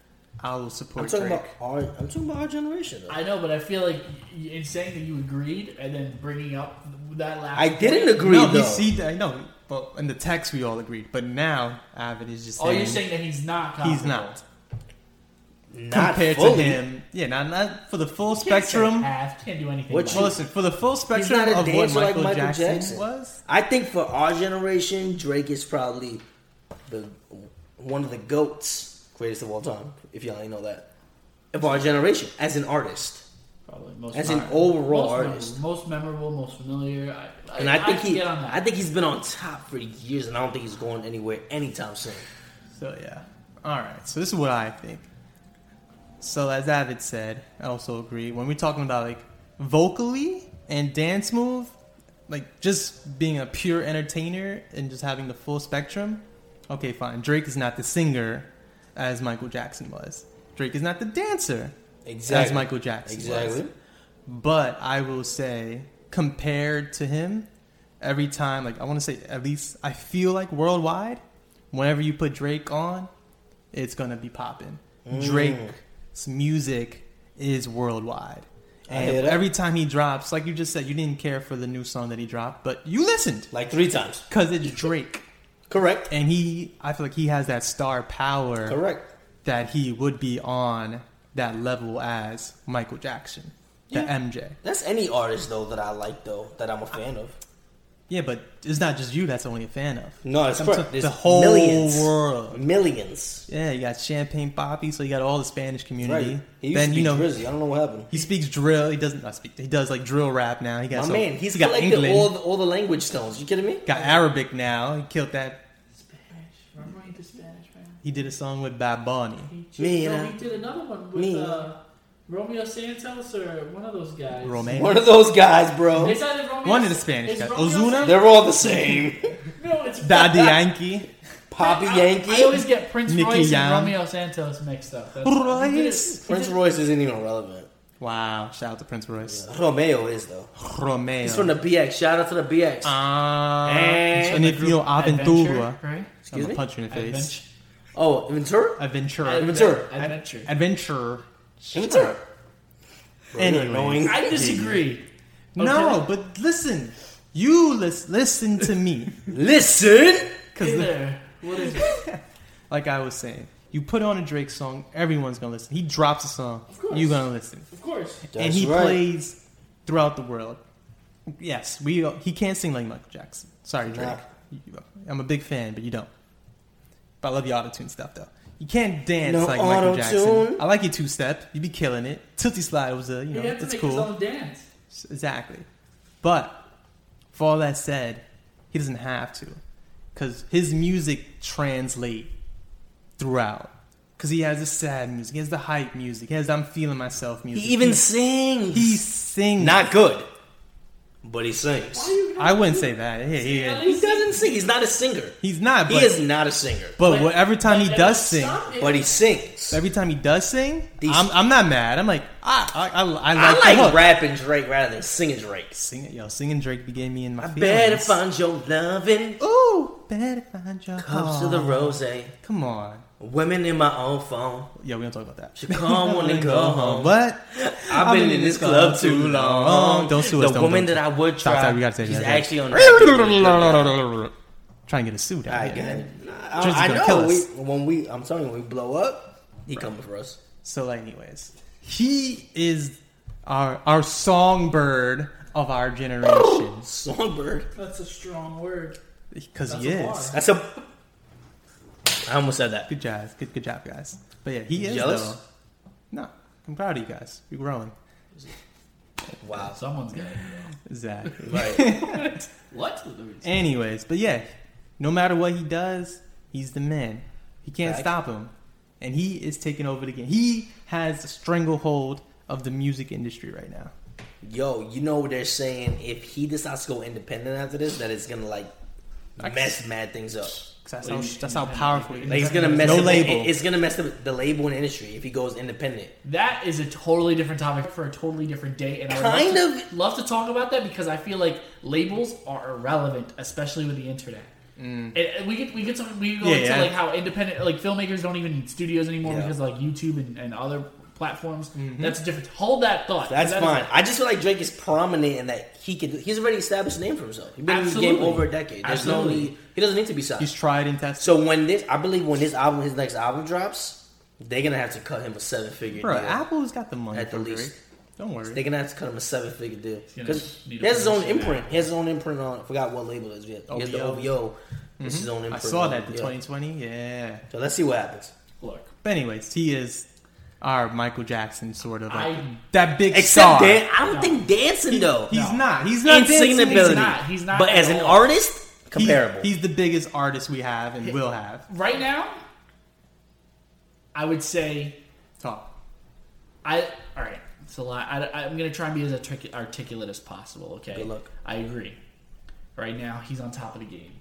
Speaker 7: I will support
Speaker 11: I'm talking
Speaker 7: Drake.
Speaker 11: about our I'm talking about our generation. Though.
Speaker 5: I know, but I feel like y- in saying that you agreed and then bringing up that last.
Speaker 11: I didn't
Speaker 5: point-
Speaker 11: agree,
Speaker 7: No,
Speaker 11: though.
Speaker 7: we see that. I know, but in the text we all agreed. But now Avid is just.
Speaker 5: Oh, you're saying that he's not
Speaker 7: He's
Speaker 5: comparable.
Speaker 7: not.
Speaker 11: Not
Speaker 7: compared
Speaker 11: fully.
Speaker 7: to him. Yeah, not, not for the full
Speaker 5: Can't say
Speaker 7: spectrum.
Speaker 5: half, Can't do anything.
Speaker 7: What
Speaker 5: like
Speaker 7: you-
Speaker 5: it.
Speaker 7: listen, for the full
Speaker 11: He's
Speaker 7: spectrum
Speaker 11: not a
Speaker 7: of what
Speaker 11: dancer
Speaker 7: Michael,
Speaker 11: like Michael
Speaker 7: Jackson,
Speaker 11: Jackson,
Speaker 7: was.
Speaker 11: I think for our generation, Drake is probably the one of the goats, greatest of all time. If y'all ain't know that, of our generation as an artist,
Speaker 5: probably most
Speaker 11: as an
Speaker 5: memorable.
Speaker 11: overall
Speaker 5: most memorable-
Speaker 11: artist.
Speaker 5: most memorable, most familiar. I, I,
Speaker 11: And I think
Speaker 5: can
Speaker 11: he,
Speaker 5: get on that.
Speaker 11: I think he's been on top for years, and I don't think he's going anywhere anytime soon.
Speaker 7: So yeah. All right. So this is what I think. So as Avid said, I also agree. When we're talking about like vocally and dance move, like just being a pure entertainer and just having the full spectrum. Okay, fine. Drake is not the singer as Michael Jackson was. Drake is not the dancer as
Speaker 11: Exactly.
Speaker 7: Michael Jackson was.
Speaker 11: Exactly.
Speaker 7: But I will say, compared to him, every time, like I want to say, at least I feel like worldwide, whenever you put Drake on, it's gonna be popping.
Speaker 11: Mm.
Speaker 7: Drake's music is worldwide,
Speaker 11: I hear
Speaker 7: and
Speaker 11: that.
Speaker 7: every time he drops, like you just said, you didn't care for the new song that he dropped, but you listened
Speaker 11: like three times
Speaker 7: because it's Drake.
Speaker 11: Correct.
Speaker 7: And he, I feel like he has that star power.
Speaker 11: Correct.
Speaker 7: That he would be on that level as Michael Jackson, the
Speaker 11: Yeah.
Speaker 7: MJ.
Speaker 11: That's any artist though that I like though that I'm a fan of.
Speaker 7: Yeah, but it's not just you that's only a fan of.
Speaker 11: No, it's
Speaker 7: I'm
Speaker 11: correct.
Speaker 7: t-
Speaker 11: There's
Speaker 7: the whole
Speaker 11: millions.
Speaker 7: world,
Speaker 11: millions.
Speaker 7: Yeah, you got Champagne Poppy, so you got all the Spanish community.
Speaker 11: Right. He used
Speaker 7: then
Speaker 11: to
Speaker 7: you
Speaker 11: be
Speaker 7: know,
Speaker 11: Drizzy. I don't know what happened.
Speaker 7: He speaks drill. He doesn't not speak. He does like drill rap now. He got
Speaker 11: My
Speaker 7: so-
Speaker 11: man, he's
Speaker 7: he got
Speaker 11: collected
Speaker 7: England,
Speaker 11: all the, all the language stones. You kidding me?
Speaker 7: got Arabic now. He killed that.
Speaker 5: Remember he did Spanish, man.
Speaker 7: He did a song with Bad Bunny.
Speaker 5: no, he did another one with
Speaker 11: Me,
Speaker 5: uh, Romeo Santos or one of those guys.
Speaker 7: Romeo.
Speaker 11: One of those guys, bro.
Speaker 5: It's either Romeo-
Speaker 7: One of the Spanish
Speaker 5: it's
Speaker 7: guys.
Speaker 5: Romeo
Speaker 7: Ozuna.
Speaker 5: Santos-
Speaker 11: They're all the same.
Speaker 5: No, it's
Speaker 7: (laughs) Daddy Yankee.
Speaker 11: Poppy Yankee.
Speaker 5: I always get Prince
Speaker 7: Nicky
Speaker 5: Royce
Speaker 7: Jam.
Speaker 5: and Romeo Santos mixed up. That's- he did it-
Speaker 7: Royce.
Speaker 5: he
Speaker 11: Prince
Speaker 5: did-
Speaker 11: Royce isn't even relevant.
Speaker 7: Wow! Shout out to Prince Royce.
Speaker 11: Romeo is though.
Speaker 7: Romeo.
Speaker 11: He's from the BX. Shout out to the BX.
Speaker 7: Ah,
Speaker 11: And-
Speaker 7: and if you know Aventura,
Speaker 5: Adventure, right?
Speaker 7: I'm
Speaker 11: Excuse
Speaker 7: gonna
Speaker 11: me?
Speaker 7: punch you in the face.
Speaker 11: Oh, Ventura.
Speaker 7: Adventure.
Speaker 11: Ventura.
Speaker 5: Adventure.
Speaker 7: Adventure.
Speaker 11: Ventura.
Speaker 7: Anyway.
Speaker 5: I disagree.
Speaker 7: No, but listen. You lis- listen
Speaker 5: (laughs)
Speaker 7: to me.
Speaker 11: listen.
Speaker 7: Cause
Speaker 5: Hey
Speaker 7: the-
Speaker 5: there. What is it?
Speaker 7: like I was saying, you put on a Drake song, everyone's gonna listen. He drops a song,
Speaker 5: course.
Speaker 7: you're gonna listen.
Speaker 5: Of course.
Speaker 7: and
Speaker 11: That's
Speaker 7: he
Speaker 11: right.
Speaker 7: plays throughout the world. Yes, we he can't sing like Michael Jackson. Sorry, Drake.
Speaker 11: Nah.
Speaker 7: You- I'm a big fan, but you don't. But I love your auto tune stuff though. You can't dance
Speaker 11: No
Speaker 7: like Michael Jackson.
Speaker 11: auto-tune.
Speaker 7: I like your two step. You be killing it. Tilty slide was a
Speaker 5: You
Speaker 7: you know
Speaker 5: have to
Speaker 7: it's
Speaker 5: make
Speaker 7: cool.
Speaker 5: his own dance.
Speaker 7: Exactly. But for all that said, he doesn't have to because his music translate throughout. Because he has the sad music, he has the hype music, he has the I'm feeling myself music.
Speaker 11: He even sings.
Speaker 7: he sings.
Speaker 11: Not good.
Speaker 13: but he sings.
Speaker 7: I wouldn't say that. He, he-
Speaker 13: He doesn't sing. He's not a singer.
Speaker 7: he's not.
Speaker 13: He
Speaker 7: But,
Speaker 13: is not a singer.
Speaker 7: But, what- every time he does sing,
Speaker 13: but he sings.
Speaker 7: Every time he does sing, I'm, I'm not mad. I'm like, ah, I, I, I
Speaker 13: I
Speaker 7: like,
Speaker 13: like
Speaker 7: the hook.
Speaker 13: rapping Drake rather than singing Drake.
Speaker 7: Singing, yo, singing Drake be getting me in my feelings.
Speaker 13: Better find your loving.
Speaker 7: Ooh, better find your
Speaker 13: Cups of the
Speaker 7: Aw.
Speaker 13: rose.
Speaker 7: Come on.
Speaker 13: Women in my own phone.
Speaker 7: Yeah, we don't talk about that.
Speaker 13: Should come
Speaker 7: (laughs)
Speaker 13: on and go home.
Speaker 7: What?
Speaker 13: I've been in this club too long.
Speaker 7: Don't sue
Speaker 13: the
Speaker 7: us. don't-
Speaker 13: woman
Speaker 7: don't-
Speaker 13: that I would
Speaker 7: Stop,
Speaker 13: try.
Speaker 7: stop, we gotta take
Speaker 13: she's
Speaker 7: that.
Speaker 13: actually
Speaker 11: (laughs)
Speaker 13: on.
Speaker 7: Trying to get a suit.
Speaker 11: I
Speaker 7: out here.
Speaker 11: get it. I,
Speaker 7: Tristan's
Speaker 11: I
Speaker 7: gonna
Speaker 11: know.
Speaker 7: kill us.
Speaker 11: we, when we, I'm telling you, when we blow up, he comes for us.
Speaker 7: So, anyways, he is our our songbird of our
Speaker 11: (gasps)
Speaker 7: generation.
Speaker 13: Songbird.
Speaker 5: That's a strong word.
Speaker 7: Because
Speaker 5: That's
Speaker 7: he
Speaker 5: a bar.
Speaker 7: is.
Speaker 13: That's a. I almost said that.
Speaker 7: Good job. Good, good job, guys. But yeah, he is.
Speaker 13: Jealous?
Speaker 7: Though. No, I'm proud of you guys. You're growing.
Speaker 13: Wow.
Speaker 5: Someone's got it.
Speaker 7: Exactly. (laughs)
Speaker 5: Right. What?
Speaker 7: Anyways, but yeah, no matter what he does, he's the man. He can't
Speaker 5: Fact.
Speaker 7: stop him, and he is taking over the game. He has a stranglehold of the music industry right now.
Speaker 11: Yo, you know what they're saying? If he decides to go independent after this, that it's gonna like mess mad things up.
Speaker 7: That's how, that's how powerful. he
Speaker 11: Like it's
Speaker 7: is.
Speaker 11: gonna mess
Speaker 7: no
Speaker 11: up,
Speaker 7: label.
Speaker 11: it- it's gonna mess up the label and industry if he goes independent.
Speaker 5: That is a totally different topic for a totally different day, and I would
Speaker 11: Kind
Speaker 5: love to, love to talk about that because I feel like labels are irrelevant, especially with the internet.
Speaker 11: Mm.
Speaker 5: And- and we could we could talk, we could go
Speaker 7: Yeah,
Speaker 5: into
Speaker 7: yeah.
Speaker 5: like how independent like filmmakers don't even need studios anymore
Speaker 11: Yeah. Mm-hmm.
Speaker 5: because like YouTube and, and other platforms. That's different. Hold that thought.
Speaker 11: That's
Speaker 5: That is-
Speaker 11: fine. I just feel like Drake is prominent in that he could. He's already established a name for himself. He's been in the
Speaker 5: Absolutely.
Speaker 11: game over a decade. There's
Speaker 5: Absolutely.
Speaker 11: no need. He doesn't need to be signed.
Speaker 7: He's tried and tested.
Speaker 11: So when this, I believe when his album, his next album drops, they're gonna have to cut him a seven figure
Speaker 7: Bro,
Speaker 11: deal.
Speaker 7: Apple's got the money
Speaker 11: at the
Speaker 7: for
Speaker 11: least.
Speaker 7: Drake. Don't worry.
Speaker 11: They're gonna have to cut him a seven figure deal
Speaker 7: gonna
Speaker 11: because
Speaker 7: need
Speaker 11: he
Speaker 7: to
Speaker 11: has his own
Speaker 7: produce it
Speaker 11: imprint. He has his own imprint on. I forgot what label it is yet. He has the
Speaker 7: OVO.
Speaker 11: OVO. It's his own
Speaker 7: I
Speaker 11: imprint.
Speaker 7: saw
Speaker 11: on it,
Speaker 7: that the
Speaker 11: yeah.
Speaker 7: 2020. Yeah.
Speaker 11: So let's see what happens.
Speaker 5: Look.
Speaker 7: But anyways, he is our Michael Jackson sort of like,
Speaker 5: I-
Speaker 7: that big
Speaker 11: Except
Speaker 7: star.
Speaker 11: dan- I don't think dancing
Speaker 7: He-
Speaker 11: though.
Speaker 7: He's not. He's not
Speaker 11: In
Speaker 7: dancing.
Speaker 11: singing ability. He's not.
Speaker 5: He's not
Speaker 11: But
Speaker 5: at
Speaker 11: as an
Speaker 5: all.
Speaker 11: artist,
Speaker 7: He's-
Speaker 11: comparable.
Speaker 7: He's, the biggest artist we have and will have.
Speaker 5: Right now, I would say
Speaker 7: Talk.
Speaker 5: I all right. It's a lot. I, am gonna try and be as artic- articulate as possible. Okay.
Speaker 11: Good luck.
Speaker 5: I agree. Right now, he's on top of the game.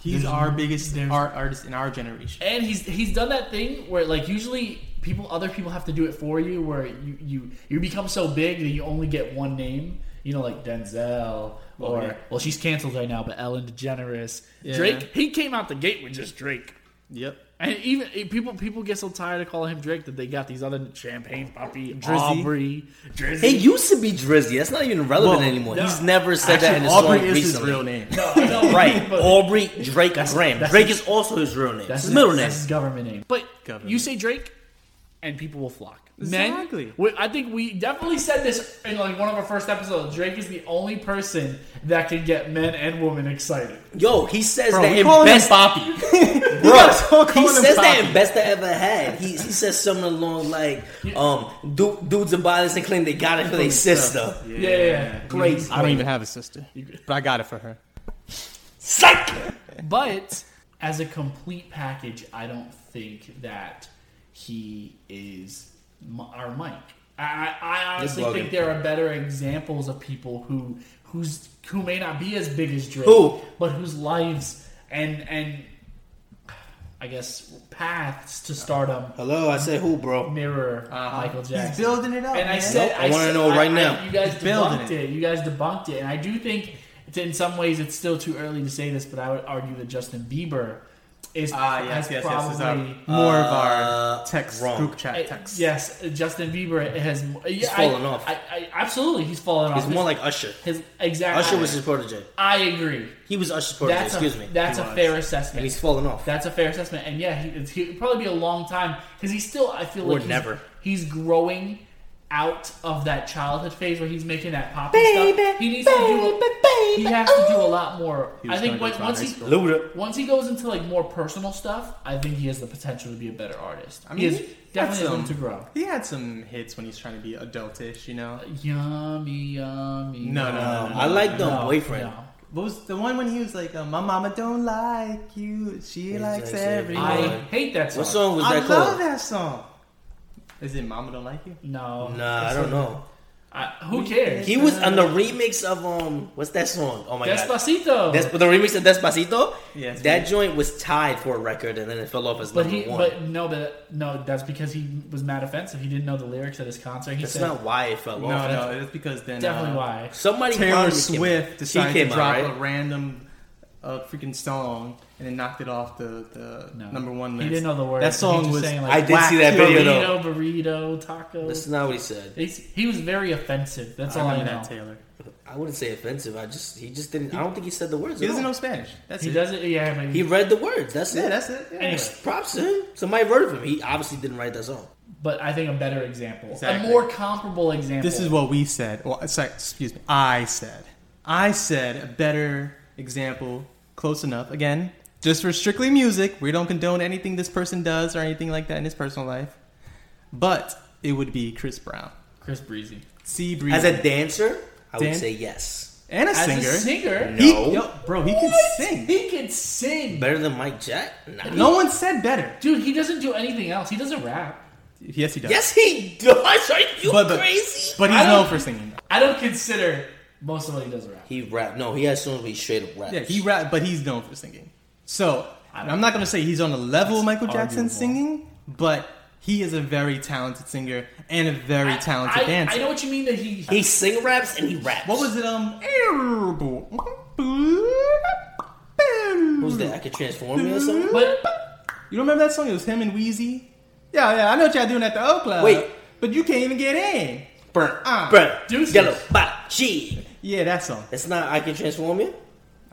Speaker 7: He's
Speaker 5: There's-
Speaker 7: our biggest art artist in our generation.
Speaker 5: And he's he's done that thing where like usually people other people have to do it for you where you you, you become so big that you only get one name. You know, like Denzel or
Speaker 7: yeah.
Speaker 5: well, she's canceled right now, but Ellen DeGeneres.
Speaker 7: Yeah.
Speaker 5: Drake, he came out the gate with just Drake.
Speaker 7: Yep.
Speaker 5: And even eh, people people get so tired of calling him Drake that they got these other champagne puppy,
Speaker 11: Drizzy.
Speaker 5: Aubrey, Drizzy.
Speaker 11: He used to be Drizzy. That's not even relevant
Speaker 5: Well,
Speaker 11: anymore.
Speaker 5: no.
Speaker 11: He's never said that in his
Speaker 7: Actually,
Speaker 11: song
Speaker 7: Aubrey is his
Speaker 11: recently.
Speaker 7: real name.
Speaker 5: (laughs)
Speaker 11: right. Aubrey Drake Graham.
Speaker 5: that's
Speaker 11: Drake
Speaker 5: his-
Speaker 11: is also his real name.
Speaker 5: That's
Speaker 11: That's his middle name.
Speaker 5: That's his government name. But you say Drake, and people will flock. Men,
Speaker 7: Exactly.
Speaker 5: we- I think we definitely said this in like one of our first episodes. Drake is the only person that can get men and women excited.
Speaker 11: Yo, he says
Speaker 5: Bro,
Speaker 11: that
Speaker 5: we
Speaker 11: in
Speaker 5: calling him
Speaker 11: best
Speaker 5: Poppy.
Speaker 11: Bro, he
Speaker 5: him
Speaker 11: says that
Speaker 5: Poppy.
Speaker 11: in best I ever had. He, he says something along like, um, du- dudes and bodies and claim they got it for their sister.
Speaker 5: Yeah, yeah.
Speaker 11: Crazy.
Speaker 7: I don't even have a sister, but I got it for her.
Speaker 11: Psych.
Speaker 5: But as a complete package, I don't think that he is m- our Mike. I, I, I honestly
Speaker 11: You're bugging.
Speaker 5: think there are better examples of people who who's who may not be as big as Drake,
Speaker 11: Who?
Speaker 5: but whose lives and and I guess paths to stardom
Speaker 11: Hello, Uh-huh. I said who, bro?
Speaker 5: mirror Michael Jackson.
Speaker 7: He's building it up.
Speaker 5: And I
Speaker 7: man.
Speaker 5: said,
Speaker 11: I wanna
Speaker 5: said-
Speaker 11: know right now.
Speaker 5: You guys
Speaker 7: He's building
Speaker 5: debunked it.
Speaker 7: it.
Speaker 5: You guys debunked it, and I do think it's in some ways it's still too early to say this, but I would argue that Justin Bieber is
Speaker 7: Ah, yes,
Speaker 5: has
Speaker 7: yes, yes.
Speaker 5: probably
Speaker 7: This is our, more of our text
Speaker 11: wrong.
Speaker 7: group chat
Speaker 5: Uh,
Speaker 7: text.
Speaker 5: yes, Justin Bieber has. Yeah, I-
Speaker 11: fallen off.
Speaker 5: I, I, absolutely, he's fallen off.
Speaker 11: He's more like Usher.
Speaker 5: his exactly.
Speaker 11: Usher was his protege.
Speaker 5: I agree.
Speaker 11: He was Usher's protege.
Speaker 5: That's
Speaker 11: Excuse
Speaker 5: a,
Speaker 11: me.
Speaker 5: That's a fair assessment.
Speaker 11: And he's falling off.
Speaker 5: That's a fair assessment, and yeah, he, it's, he'll probably be a long time because he's still. I feel
Speaker 11: Or
Speaker 5: like he's,
Speaker 11: never.
Speaker 5: he's growing out of that childhood phase where he's making that poppy stuff. He needs to do. he has to do a lot more.
Speaker 7: He
Speaker 5: I
Speaker 7: was
Speaker 5: think
Speaker 7: gonna go
Speaker 5: when,
Speaker 7: to
Speaker 5: once
Speaker 7: high
Speaker 5: he
Speaker 7: school.
Speaker 11: Luda.
Speaker 5: once he goes into like more personal stuff, I think he has the potential to be a better artist.
Speaker 7: I
Speaker 5: he
Speaker 7: mean,
Speaker 5: has
Speaker 7: had
Speaker 5: definitely has room to
Speaker 7: some-
Speaker 5: grow.
Speaker 7: He had some hits when he's trying to be adultish, you know.
Speaker 5: Yummy, yummy.
Speaker 7: No, no, no, no, no.
Speaker 11: I like the
Speaker 5: No,
Speaker 11: boyfriend.
Speaker 5: no.
Speaker 7: What was the one when he was like, uh, "My mama don't like you, she likes
Speaker 11: likes
Speaker 7: everyone."
Speaker 5: I
Speaker 11: everyone."
Speaker 5: hate that song.
Speaker 11: What song was
Speaker 7: I
Speaker 11: that
Speaker 7: love
Speaker 11: called?
Speaker 7: that song. Is it "Mama Don't Like You"?
Speaker 5: No,
Speaker 11: Nah, I
Speaker 5: It's
Speaker 11: don't
Speaker 5: a-
Speaker 11: know.
Speaker 5: I, who cares?
Speaker 11: He was on the remix of um, what's that song? Oh my
Speaker 5: Despacito.
Speaker 11: god, Despacito. The remix of Despacito.
Speaker 5: Yes,
Speaker 11: that
Speaker 5: man.
Speaker 11: joint was tied for a record, and then it fell off as
Speaker 5: But
Speaker 11: number
Speaker 5: he,
Speaker 11: one.
Speaker 5: but no, but no. That's because he was mad offensive. He didn't know the lyrics at his concert. He
Speaker 11: That's
Speaker 5: said,
Speaker 11: not why it fell
Speaker 7: No,
Speaker 11: off.
Speaker 7: no, it's because then
Speaker 5: Definitely
Speaker 7: uh,
Speaker 5: why.
Speaker 11: Somebody
Speaker 7: Taylor
Speaker 11: probably came-
Speaker 7: Swift
Speaker 11: she
Speaker 7: decided
Speaker 11: came
Speaker 7: to
Speaker 11: out,
Speaker 7: drop
Speaker 11: right?
Speaker 7: a random uh, freaking song and then knocked it off the, the number one
Speaker 5: He
Speaker 7: list.
Speaker 5: didn't know the words.
Speaker 7: That song
Speaker 5: He
Speaker 7: was
Speaker 5: was saying, like,
Speaker 11: I did see that video though.
Speaker 5: burrito, burrito, taco.
Speaker 11: That's not what he said.
Speaker 5: He's, he was very offensive. That's all I know.
Speaker 11: I wouldn't say offensive. I just he just didn't. I don't think he said the words.
Speaker 7: He
Speaker 11: at
Speaker 7: doesn't
Speaker 11: all.
Speaker 7: know Spanish. That's
Speaker 5: He
Speaker 7: it.
Speaker 5: doesn't. Yeah, but
Speaker 11: He read the words. That's
Speaker 7: Yeah,
Speaker 11: it.
Speaker 7: that's it. Yeah.
Speaker 11: And it's props to him. Somebody wrote of him. He obviously didn't write that song.
Speaker 5: But I think a better example,
Speaker 7: Exactly.
Speaker 5: a more comparable example.
Speaker 7: This is what we said. Well, sorry, excuse me. I said. I said a better example, close enough. Again, just for strictly music, we don't condone anything this person does or anything like that in his personal life. But it would be Chris Brown.
Speaker 5: Chris Breezy.
Speaker 7: Sea Breezy.
Speaker 11: As a dancer, I would
Speaker 7: Dan-
Speaker 11: say yes.
Speaker 7: And a
Speaker 5: As a
Speaker 7: singer.
Speaker 5: singer?
Speaker 7: He-
Speaker 11: No.
Speaker 7: yo, bro, he can
Speaker 5: What?
Speaker 7: sing.
Speaker 5: He can sing,
Speaker 11: Better than Mike Jack? Nah.
Speaker 7: No one said better.
Speaker 5: dude. He doesn't do anything else. He doesn't rap.
Speaker 7: Yes, he does.
Speaker 11: Yes, he does. (laughs) Are you
Speaker 7: But- but-
Speaker 11: crazy?
Speaker 7: But
Speaker 5: I
Speaker 7: he's
Speaker 5: don't-
Speaker 7: known for singing.
Speaker 5: I don't consider most of what he does rap.
Speaker 11: He rap. No, he has songs where he straight up raps.
Speaker 7: Yeah, he rap, but he's known for singing. So I'm not gonna say he's on the level of Michael Jackson singing, but he is a very talented singer and a very talented
Speaker 5: I,
Speaker 7: dancer.
Speaker 5: I know what you mean that he.
Speaker 11: He sing raps and he raps.
Speaker 7: What was it? Um,
Speaker 11: Who's that? I could transform me or something.
Speaker 5: But
Speaker 7: you don't remember that song? It was him and Wheezy. Yeah, yeah, I know what y'all doing at the O Club.
Speaker 11: Wait.
Speaker 7: but you can't even get in.
Speaker 11: Burn,
Speaker 7: Ah.
Speaker 11: burn,
Speaker 5: Mm-hmm. Deuces.
Speaker 11: yellow, bop, G.
Speaker 7: Yeah, that song.
Speaker 11: That's not. I can transform you.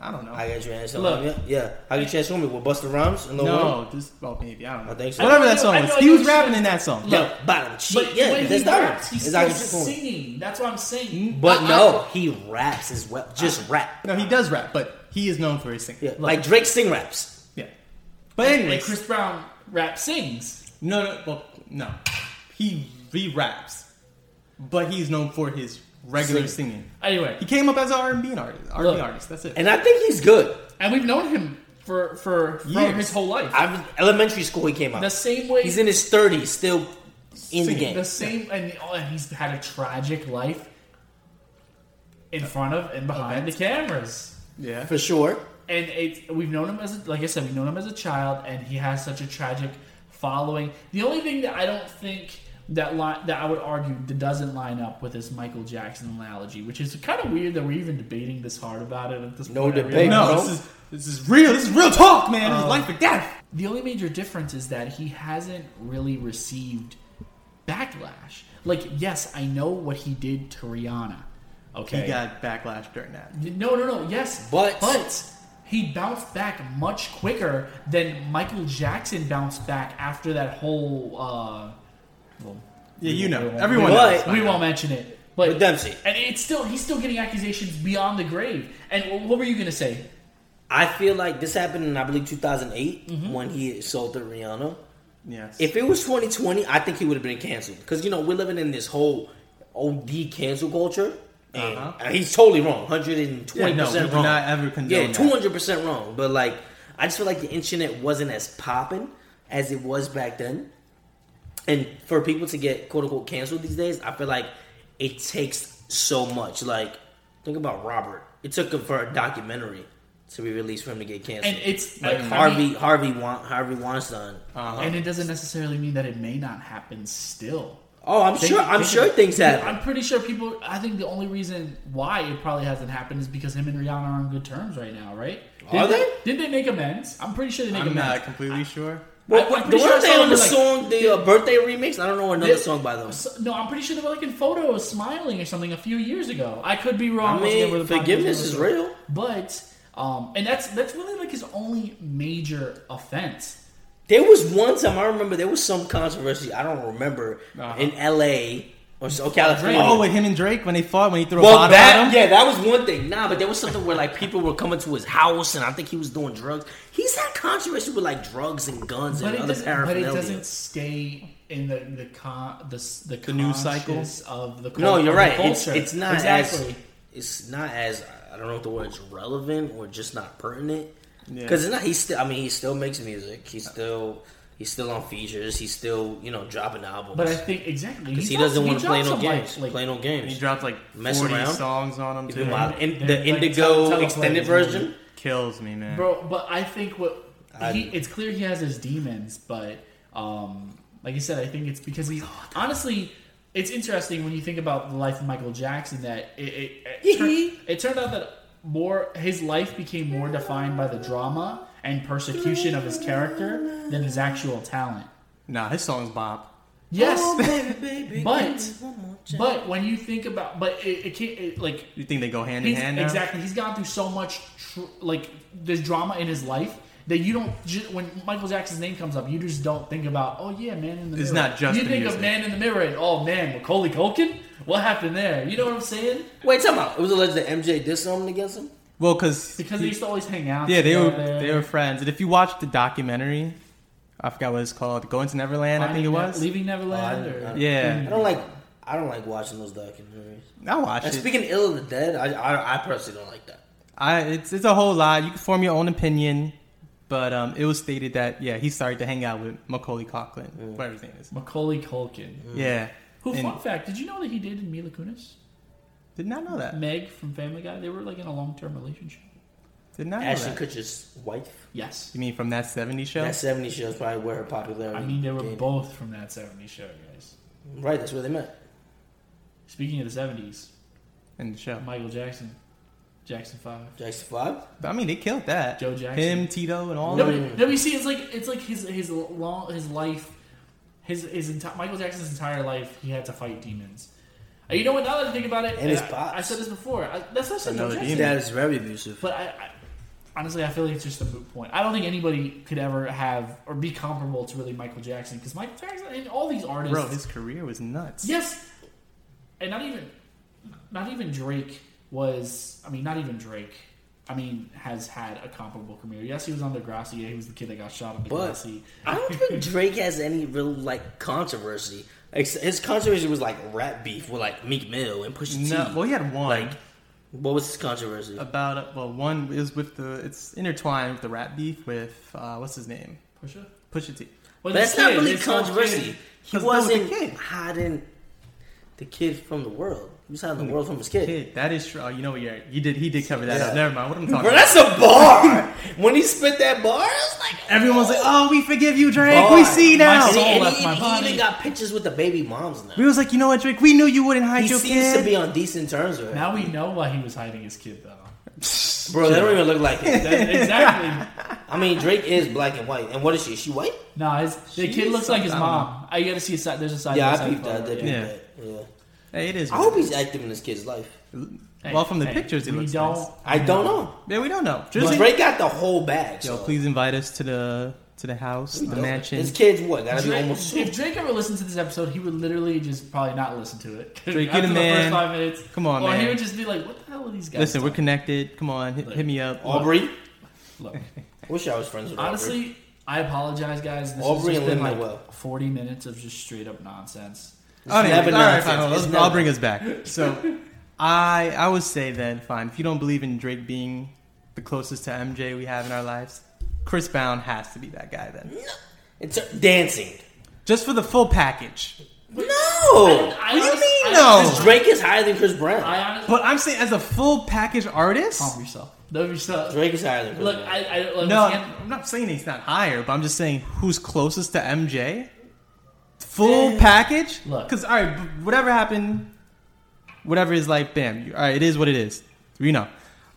Speaker 7: I don't know.
Speaker 11: I can transform
Speaker 5: Look.
Speaker 11: you. Yeah, I can transform you with Buster Rhymes. and the one.
Speaker 7: no, this well maybe I don't know.
Speaker 11: I think so.
Speaker 7: Whatever
Speaker 5: I
Speaker 7: that
Speaker 5: know-
Speaker 7: song
Speaker 5: I
Speaker 7: was,
Speaker 5: know
Speaker 7: he
Speaker 5: you
Speaker 7: was
Speaker 5: said-
Speaker 7: rapping in that song.
Speaker 11: Yellow bottom cheek.
Speaker 5: but
Speaker 11: yeah,
Speaker 5: when
Speaker 11: that's
Speaker 5: he
Speaker 11: not
Speaker 5: raps, he's
Speaker 11: It's I
Speaker 5: still
Speaker 11: can transform you.
Speaker 5: singing. That's what I'm saying.
Speaker 11: But
Speaker 5: I- I-
Speaker 11: no, he raps as well. Just rap.
Speaker 7: No, he does rap, but he is known for his singing.
Speaker 11: Yeah, like Drake sing raps.
Speaker 7: Yeah. But anyway,
Speaker 5: like Chris Brown rap sings.
Speaker 7: no, no, well, no. He he raps, but he's known for his regular
Speaker 11: Singing.
Speaker 7: singing.
Speaker 5: Anyway,
Speaker 7: He came up as an R and B artist. R and B
Speaker 5: Look.
Speaker 7: artist. That's it.
Speaker 11: And I think he's good.
Speaker 5: and we've known him for for from
Speaker 7: Years.
Speaker 5: his whole life.
Speaker 11: I was elementary school he came out.
Speaker 5: the same way
Speaker 11: he's in his thirties, still in the
Speaker 7: Singing.
Speaker 11: game.
Speaker 5: the same and, oh, and he's had a tragic life in front of and behind the cameras
Speaker 7: yeah.
Speaker 11: For sure.
Speaker 5: and it, we've known him as a, like i said we've known him as a child and he has such a tragic following the only thing that i don't think that li- that i would argue that doesn't line up with this michael jackson analogy which is kind of weird that we're even debating this hard about it at this
Speaker 11: No
Speaker 5: point I
Speaker 11: debate.
Speaker 5: realize.
Speaker 7: no,
Speaker 11: bro.
Speaker 7: this is this is real. This is real talk, man. This is life or death.
Speaker 5: The only major difference is that he hasn't really received backlash. Like, yes, I know what he did to Rihanna. Okay.
Speaker 7: He got backlash during that.
Speaker 5: no, no, no. Yes,
Speaker 11: But-
Speaker 5: but he bounced back much quicker than Michael Jackson bounced back after that whole. Uh, well,
Speaker 7: Yeah, you know,
Speaker 5: won't-
Speaker 7: everyone
Speaker 11: we
Speaker 7: knows.
Speaker 11: won't-
Speaker 5: we won't mention it. But
Speaker 11: But Dempsey.
Speaker 5: and it's still he's still getting accusations beyond the grave. And what were you gonna say?
Speaker 11: I feel like this happened in I believe 2008 when he assaulted Rihanna.
Speaker 7: Yes.
Speaker 11: If it was 2020, I think he would have been canceled because you know we're living in this whole OD cancel culture. And
Speaker 7: Uh-huh.
Speaker 11: and he's totally wrong, 120
Speaker 7: Yeah, no, we
Speaker 11: percent
Speaker 7: do
Speaker 11: wrong.
Speaker 7: not ever condone
Speaker 11: yeah,
Speaker 7: that.
Speaker 11: 200 percent wrong. But like, I just feel like the internet wasn't as popping as it was back then. and for people to get quote unquote canceled these days, I feel like it takes so much. Like, think about Robert. It took him for a documentary to be released for him to get canceled.
Speaker 5: And it's
Speaker 11: like
Speaker 5: like, I
Speaker 11: Harvey,
Speaker 5: mean-
Speaker 11: Harvey, Wan- Harvey Weinstein.
Speaker 7: Uh-huh.
Speaker 5: And it doesn't necessarily mean that it may not happen still.
Speaker 11: Oh, I'm
Speaker 5: Think-
Speaker 11: sure. I'm
Speaker 5: think-
Speaker 11: sure things
Speaker 5: Yeah,
Speaker 11: happen.
Speaker 5: I'm pretty sure people. I think the only reason why it probably hasn't happened is because him and Rihanna are on good terms right now, right?
Speaker 11: Are
Speaker 5: Didn't Didn't they make amends? I'm pretty sure they make
Speaker 7: I'm
Speaker 5: amends.
Speaker 7: not completely sure.
Speaker 11: Well,
Speaker 5: I'm pretty
Speaker 11: the
Speaker 5: sure
Speaker 11: weren't
Speaker 5: I
Speaker 11: they
Speaker 5: saw
Speaker 11: on the
Speaker 5: them, like-
Speaker 11: song, the uh, birthday remix? I don't know another
Speaker 5: They-
Speaker 11: song by them.
Speaker 5: So- no, I'm pretty sure they were like in photos, smiling or something a few years ago. I could be wrong.
Speaker 11: I
Speaker 5: Once
Speaker 11: mean,
Speaker 5: again, we're the podcast
Speaker 11: forgiveness
Speaker 5: is
Speaker 11: is
Speaker 5: real.
Speaker 11: real.
Speaker 5: but um, and that's that's really like his only major offense.
Speaker 11: There was one time I remember there was some controversy. I don't remember
Speaker 5: Uh-huh.
Speaker 11: in L.A. or so California.
Speaker 7: Oh, with him and Drake when they fought when he threw a
Speaker 11: Well,
Speaker 7: bottle at
Speaker 11: that
Speaker 7: him.
Speaker 11: yeah, that was one thing. Nah, but there was something where like people were coming to his house, and I think he was doing drugs. He's had controversy with like drugs and guns
Speaker 5: But
Speaker 11: and
Speaker 5: it,
Speaker 11: other
Speaker 5: doesn't, but it
Speaker 11: paraphernalia.
Speaker 5: doesn't stay in the the con, the s- the, the
Speaker 7: news cycle?
Speaker 5: of the
Speaker 11: no,
Speaker 5: cul-
Speaker 11: you're
Speaker 5: of the
Speaker 11: right. It's,
Speaker 5: culture.
Speaker 11: it's not
Speaker 5: exactly.
Speaker 11: as it's not as I don't know if the word's relevant or just not pertinent.
Speaker 7: Yeah.
Speaker 11: Because it's not. He's still. I mean, he still makes music. He still He's still on features. He's still, you know, dropping albums.
Speaker 5: But I think exactly
Speaker 11: because he,
Speaker 5: drops-
Speaker 11: doesn't
Speaker 5: he
Speaker 11: want to play
Speaker 5: drops
Speaker 11: no
Speaker 5: some, like-
Speaker 11: games.
Speaker 5: like-
Speaker 11: play no games.
Speaker 7: He dropped like
Speaker 11: Mess
Speaker 7: 40
Speaker 11: around.
Speaker 7: songs on him
Speaker 11: He's
Speaker 7: too.
Speaker 11: been wild. In-
Speaker 7: Like,
Speaker 11: the Indigo
Speaker 7: tele- teleplay
Speaker 11: extended
Speaker 7: is
Speaker 11: version.
Speaker 7: kills me, man.
Speaker 5: Bro, but I think what
Speaker 7: I-
Speaker 5: he, it's clear he has his demons, but um, like I said, I think it's because he's honestly. It's interesting when you think about the life of Michael Jackson that it it, it, turned, it turned out that more his life became more defined by the drama and persecution of his character than his actual talent.
Speaker 7: Nah, his songs bop.
Speaker 5: Yes,
Speaker 7: Oh,
Speaker 5: (laughs) but but when you think about but it, it can't it, like
Speaker 7: You think they go hand in
Speaker 5: He's-
Speaker 7: hand? Now?
Speaker 5: Exactly. He's gone through so much, tr- like there's drama in his life that you don't. Ju- when Michael Jackson's name comes up, you just don't think about, oh yeah, man in the
Speaker 7: It's
Speaker 5: mirror.
Speaker 7: not just
Speaker 5: you
Speaker 7: the
Speaker 5: think
Speaker 7: music.
Speaker 5: of man in the mirror and oh man, Macaulay Culkin, what happened there? You know what I'm saying?
Speaker 11: Wait, time out. It was alleged that MJ did something against him.
Speaker 7: Well, cause
Speaker 5: Because they used to always hang out.
Speaker 7: yeah, they were
Speaker 5: together.
Speaker 7: they were friends. And if you watch the documentary, I forgot what it's called, Going to Neverland, I think it
Speaker 5: Finding Ne-
Speaker 7: was. Oh,
Speaker 5: leaving Neverland.
Speaker 11: I-
Speaker 5: or-
Speaker 11: I-
Speaker 7: Yeah.
Speaker 5: Mm.
Speaker 11: I don't like. I don't like watching those documentaries.
Speaker 7: I watch
Speaker 11: And
Speaker 7: it.
Speaker 11: Speaking ill of the dead, I, I, I personally don't like that.
Speaker 7: I it's it's a whole lot. You can form your own opinion, but um, it was stated that yeah, he started to hang out with Macaulay Culkin, whatever his name is.
Speaker 5: Macaulay Culkin.
Speaker 7: Yeah.
Speaker 5: Who?
Speaker 7: And-
Speaker 5: fun fact: Did you know that he dated Mila Kunis?
Speaker 7: Did not know that.
Speaker 5: Meg from Family Guy. They were like in a long-term relationship.
Speaker 7: Did not know
Speaker 11: Ashton
Speaker 7: that.
Speaker 11: Kutcher's wife.
Speaker 5: Yes.
Speaker 7: You mean from that '70s show?
Speaker 11: That 70 show is probably where her popularity.
Speaker 5: I mean, they were
Speaker 11: gained.
Speaker 5: both from that '70s show, guys.
Speaker 11: Right, that's where they met.
Speaker 5: Speaking of the '70s,
Speaker 7: and the show.
Speaker 5: Michael Jackson, Jackson Five.
Speaker 11: Jackson Five.
Speaker 7: I mean, they killed that.
Speaker 5: Joe Jackson.
Speaker 7: him, Tito,
Speaker 11: Oh,
Speaker 7: and all.
Speaker 5: No,
Speaker 7: of
Speaker 5: but,
Speaker 7: them.
Speaker 5: no, but you see, it's like it's like his his long his life, his his entire Michael Jackson's entire life, he had to fight demons. And you know what? Now that I think about it,
Speaker 11: And his
Speaker 5: I,
Speaker 11: pops.
Speaker 5: I said this before. I, that's not something
Speaker 11: Another
Speaker 5: Jackson.
Speaker 11: demon. That is very abusive.
Speaker 5: But I, I honestly, I feel like it's just a moot point. I don't think anybody could ever have or be comparable to really Michael Jackson because Michael Jackson and all these artists.
Speaker 7: Bro, his career was nuts.
Speaker 5: Yes, and not even, not even Drake was. I mean, not even Drake. I mean, has had a comparable career. Yes, he was on Degrassi. Yeah, he was the kid that got shot on
Speaker 11: But
Speaker 5: Degrassi.
Speaker 11: I
Speaker 5: (laughs)
Speaker 11: don't think Drake has any real like controversy. Like, His controversy was like rap beef with like Meek Mill and Pusha
Speaker 7: No,
Speaker 11: T.
Speaker 7: well, he had one.
Speaker 11: Like, what was his controversy?
Speaker 7: about uh, well, one is with the it's intertwined with the rap beef with uh, what's his name?
Speaker 5: Pusha.
Speaker 7: Pusha T.
Speaker 11: But that's not really controversy. He
Speaker 7: 'Cause that was the
Speaker 11: wasn't hiding the kid from the world. He was hiding the world from his kid.
Speaker 7: That is true. Oh, you know what? Yeah, you did. He did cover that
Speaker 11: Yeah.
Speaker 7: up. Never mind. What I'm talking
Speaker 11: Bro, that's
Speaker 7: about.
Speaker 11: a bar. when he spit that bar, it's like
Speaker 7: Everyone's like, "Oh, we forgive you, Drake.
Speaker 11: bar.
Speaker 7: we see now."
Speaker 11: And he- and he, and he even got pictures with the baby moms now.
Speaker 7: We was like, you know what, Drake? We knew you wouldn't hide
Speaker 11: He
Speaker 7: your
Speaker 11: seems
Speaker 7: kid.
Speaker 11: to be on decent terms with her.
Speaker 5: Now we know why he was hiding his kid,
Speaker 11: (laughs)
Speaker 5: though.
Speaker 11: Bro, they don't even look
Speaker 5: (laughs)
Speaker 11: like it.
Speaker 5: That- exactly.
Speaker 11: I mean, Drake is black and white. And what is she? Is she white?
Speaker 5: Nah, his, the
Speaker 11: She
Speaker 5: kid
Speaker 11: is
Speaker 5: looks like his
Speaker 11: something- I don't
Speaker 5: mom. I gotta see a side. There's a side.
Speaker 11: yeah,
Speaker 5: by
Speaker 11: I
Speaker 5: side
Speaker 11: peeped that.
Speaker 5: photo,
Speaker 11: They peeped
Speaker 5: yeah.
Speaker 11: that. Yeah.
Speaker 7: Hey, it is.
Speaker 11: I hope he's active in his kid's life.
Speaker 7: well, from the
Speaker 5: Hey,
Speaker 7: pictures, it
Speaker 5: we
Speaker 7: looks
Speaker 5: don't-
Speaker 7: nice.
Speaker 11: I don't know.
Speaker 7: Yeah, we don't know.
Speaker 11: But
Speaker 7: Drizzy,
Speaker 11: Drake got the whole bag.
Speaker 7: yo,
Speaker 11: So.
Speaker 7: please invite us to the to the house, the mansion.
Speaker 11: His kid's what? Gotta be
Speaker 5: Drake-
Speaker 11: almost two.
Speaker 5: if Drake ever listened to this episode, he would literally just probably not listen to it. (laughs)
Speaker 7: Drake,
Speaker 5: After
Speaker 7: get a
Speaker 5: the
Speaker 7: man.
Speaker 5: First five minutes.
Speaker 7: Come on,
Speaker 5: or
Speaker 7: man.
Speaker 5: he would just be like, "What the hell are these guys?"
Speaker 7: Listen, we're
Speaker 5: talking
Speaker 7: connected. Come on, hit, hit me up.
Speaker 11: Aubrey?
Speaker 5: Look.
Speaker 11: Wish I was friends with Aubrey.
Speaker 5: Honestly, I apologize, guys. This
Speaker 11: Aubrey
Speaker 5: has just
Speaker 11: and
Speaker 5: been like
Speaker 11: Lin Manuel.
Speaker 5: 40 minutes of just straight up nonsense.
Speaker 7: Oh, yeah.
Speaker 11: never
Speaker 7: all right,
Speaker 11: nonsense.
Speaker 7: fine. I'll,
Speaker 11: It's
Speaker 7: I'll
Speaker 11: never-
Speaker 7: bring us back. So, I I would say then, fine. If you don't believe in Drake being the closest to MJ we have in our lives, Chris Brown has to be that guy then,
Speaker 11: It's dancing.
Speaker 7: just for the full package.
Speaker 11: No.
Speaker 5: I
Speaker 7: What do
Speaker 5: honest-
Speaker 7: you mean
Speaker 5: I-
Speaker 11: Because
Speaker 7: no?
Speaker 11: Drake is higher than Chris Brown.
Speaker 5: I honestly
Speaker 7: But I'm saying as a full package artist.
Speaker 11: Oh.
Speaker 5: calm yourself. Love yourself.
Speaker 11: Drake is higher than Chris
Speaker 5: Look,
Speaker 11: Brown.
Speaker 5: I, I look,
Speaker 7: No,
Speaker 5: again,
Speaker 7: I'm not saying he's not higher, but I'm just saying who's closest to MJ. Full
Speaker 11: Eh,
Speaker 7: package.
Speaker 5: Look.
Speaker 7: because all right, b- whatever happened, whatever his life, bam. You, all right, it is what it is. You know,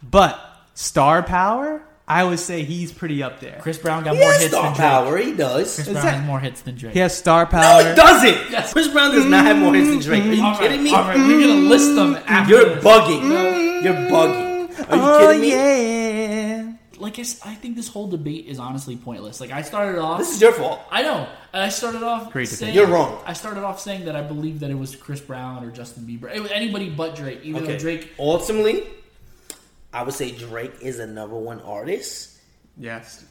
Speaker 7: but star power, I would say he's pretty up there.
Speaker 5: Chris Brown got
Speaker 11: he
Speaker 5: more
Speaker 11: has
Speaker 5: hits than
Speaker 11: star
Speaker 5: Drake.
Speaker 11: power. He does.
Speaker 5: Chris
Speaker 7: Is
Speaker 5: Brown
Speaker 7: that-
Speaker 5: has more hits than Drake.
Speaker 7: He has star
Speaker 11: No,
Speaker 7: power.
Speaker 11: he doesn't. Chris Brown does not have more hits than Drake. Are you
Speaker 5: All right,
Speaker 11: kidding me?
Speaker 5: All right, we're gonna list them after.
Speaker 11: You're
Speaker 5: this.
Speaker 11: bugging. You're bugging. Are you
Speaker 7: Mm. oh
Speaker 11: kidding me?
Speaker 7: yeah.
Speaker 5: like I, s- I think this whole debate is honestly pointless. Like I started off.
Speaker 11: This is your fault.
Speaker 5: I know. And I started off.
Speaker 7: Great
Speaker 5: saying,
Speaker 11: You're wrong.
Speaker 5: I started off saying that I believe that it was Chris Brown or Justin Bieber. It was anybody but Drake. Even
Speaker 11: Okay.
Speaker 5: though Drake.
Speaker 11: Ultimately, I would say Drake is a number one artist,
Speaker 7: Yes.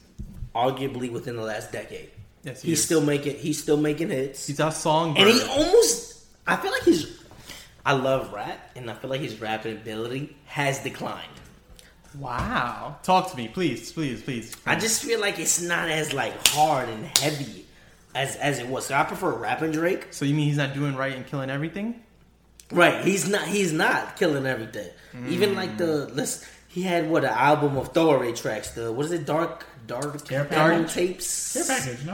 Speaker 11: arguably within the last decade.
Speaker 7: Yes. He
Speaker 11: He's
Speaker 7: is.
Speaker 11: still making. He's still making hits.
Speaker 7: He's our song.
Speaker 11: and he almost I feel like his I love rap and I feel like his rapping ability has declined.
Speaker 7: Wow. Talk to me, please, please, please.
Speaker 11: I just feel like it's not as like hard and heavy as as it was. So I prefer rapping Drake.
Speaker 7: So you mean he's not doing right and killing everything?
Speaker 11: Right, he's not. He's not killing everything. Even like the let's. He had what an album of throwaway tracks. The what is it? Dark, dark, album tapes.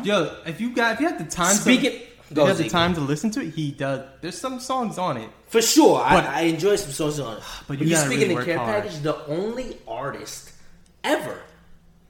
Speaker 7: Yo, if you got if you have the time,
Speaker 11: Speaking-
Speaker 7: to, if
Speaker 11: Go,
Speaker 7: you have the
Speaker 11: Zeke.
Speaker 7: time to listen to it, he does. There's some songs on it
Speaker 11: For sure, I,
Speaker 7: But-
Speaker 11: I enjoy some songs on. it.
Speaker 7: But
Speaker 11: But,
Speaker 7: you
Speaker 11: you are
Speaker 7: gotta
Speaker 11: speaking
Speaker 7: really
Speaker 11: of
Speaker 7: work
Speaker 11: care
Speaker 7: hard.
Speaker 11: package, the only artist ever,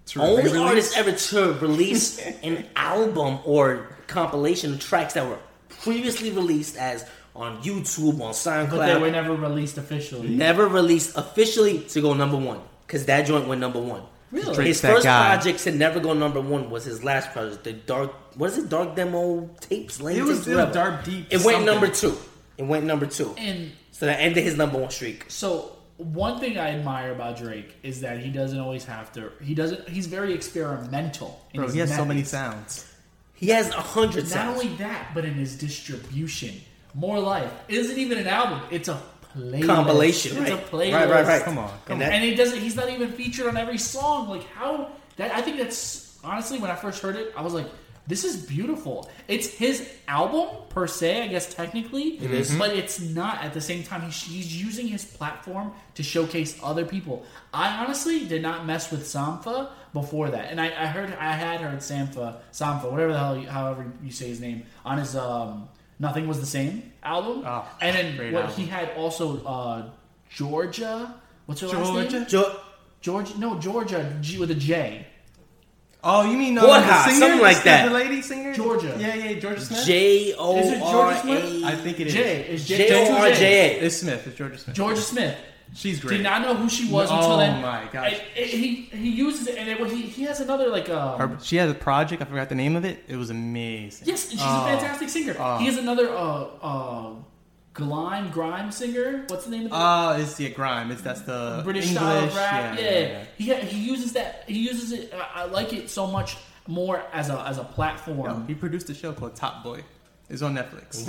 Speaker 7: To
Speaker 11: only
Speaker 7: release?
Speaker 11: artist ever to
Speaker 7: (laughs)
Speaker 11: release an album or compilation of tracks that were previously released as on YouTube, on SoundCloud,
Speaker 5: But they were never released officially.
Speaker 11: never released officially to go number one because that joint went number one.
Speaker 5: Really?
Speaker 11: his
Speaker 5: Drake's that
Speaker 11: first
Speaker 5: guy.
Speaker 11: project to never go number one was his last project, the dark. What is it? Dark demo tapes. Lane
Speaker 7: It was-
Speaker 11: Tapes,
Speaker 7: it was
Speaker 11: whatever.
Speaker 7: Dark Deep
Speaker 11: It
Speaker 7: something.
Speaker 11: went number two. It went number two.
Speaker 5: And
Speaker 11: so that ended his number one streak.
Speaker 5: So one thing I admire about Drake is that he doesn't always have to. He doesn't. He's very experimental. in
Speaker 7: Bro,
Speaker 5: his
Speaker 7: he has so
Speaker 5: methods.
Speaker 7: many sounds.
Speaker 11: He has a hundred.
Speaker 5: Not
Speaker 11: sounds.
Speaker 5: only that, but in his distribution, More Life isn't even an album. It's a playlist.
Speaker 11: Compilation,
Speaker 5: It's
Speaker 11: right.
Speaker 5: a playlist.
Speaker 11: Right, right, right. Come on, come
Speaker 5: and,
Speaker 11: on.
Speaker 5: and he doesn't. He's not even featured on every song. Like how that? I think that's honestly when I first heard it, I was like. This is beautiful. It's his album per se, I guess technically,
Speaker 11: It is.
Speaker 5: but it's not. At the same time, he's, he's using his platform to showcase other people. I honestly did not mess with Sampha before that, and I, I heard I had heard Sampha, Sampha, whatever the hell, you, however you say his name, on his um, "Nothing Was the Same" album, and then
Speaker 7: great
Speaker 5: what
Speaker 7: album.
Speaker 5: he had also uh, Georgia. What's her last name?
Speaker 7: Georgia?
Speaker 11: Georgia.
Speaker 5: Georgia. No, Georgia G, with a J.
Speaker 7: Oh, you mean uh,
Speaker 5: Borja,
Speaker 7: the singer?
Speaker 5: something like
Speaker 7: The-
Speaker 5: that.
Speaker 7: The lady singer,
Speaker 5: Georgia.
Speaker 7: Yeah, yeah, Georgia Smith.
Speaker 11: J O
Speaker 7: Is it Georgia
Speaker 11: R
Speaker 7: Smith?
Speaker 11: A-
Speaker 7: I think it is.
Speaker 5: J. It's J-
Speaker 7: J-
Speaker 5: two J's.
Speaker 11: J.
Speaker 7: It's Smith. It's Georgia Smith.
Speaker 5: Georgia Smith.
Speaker 7: She's great.
Speaker 5: Did not know who she was
Speaker 7: No,
Speaker 5: until then.
Speaker 7: Oh my gosh.
Speaker 5: And- and he he uses it, and it, he he has another like um,
Speaker 7: Her- she had a project. I forgot the name of it. It was amazing.
Speaker 5: Yes, and she's a
Speaker 7: Oh.
Speaker 5: fantastic singer.
Speaker 7: Oh.
Speaker 5: he has another uh uh glime grime singer. What's the name of the
Speaker 7: Oh, it's yeah, grime. It's that's the
Speaker 5: British
Speaker 7: English,
Speaker 5: style of rap?
Speaker 7: Yeah,
Speaker 5: Yeah, He he uses that. He uses it. I, I like it so much more as a as a platform.
Speaker 7: Yo, he produced a show called Top Boy. It's on Netflix.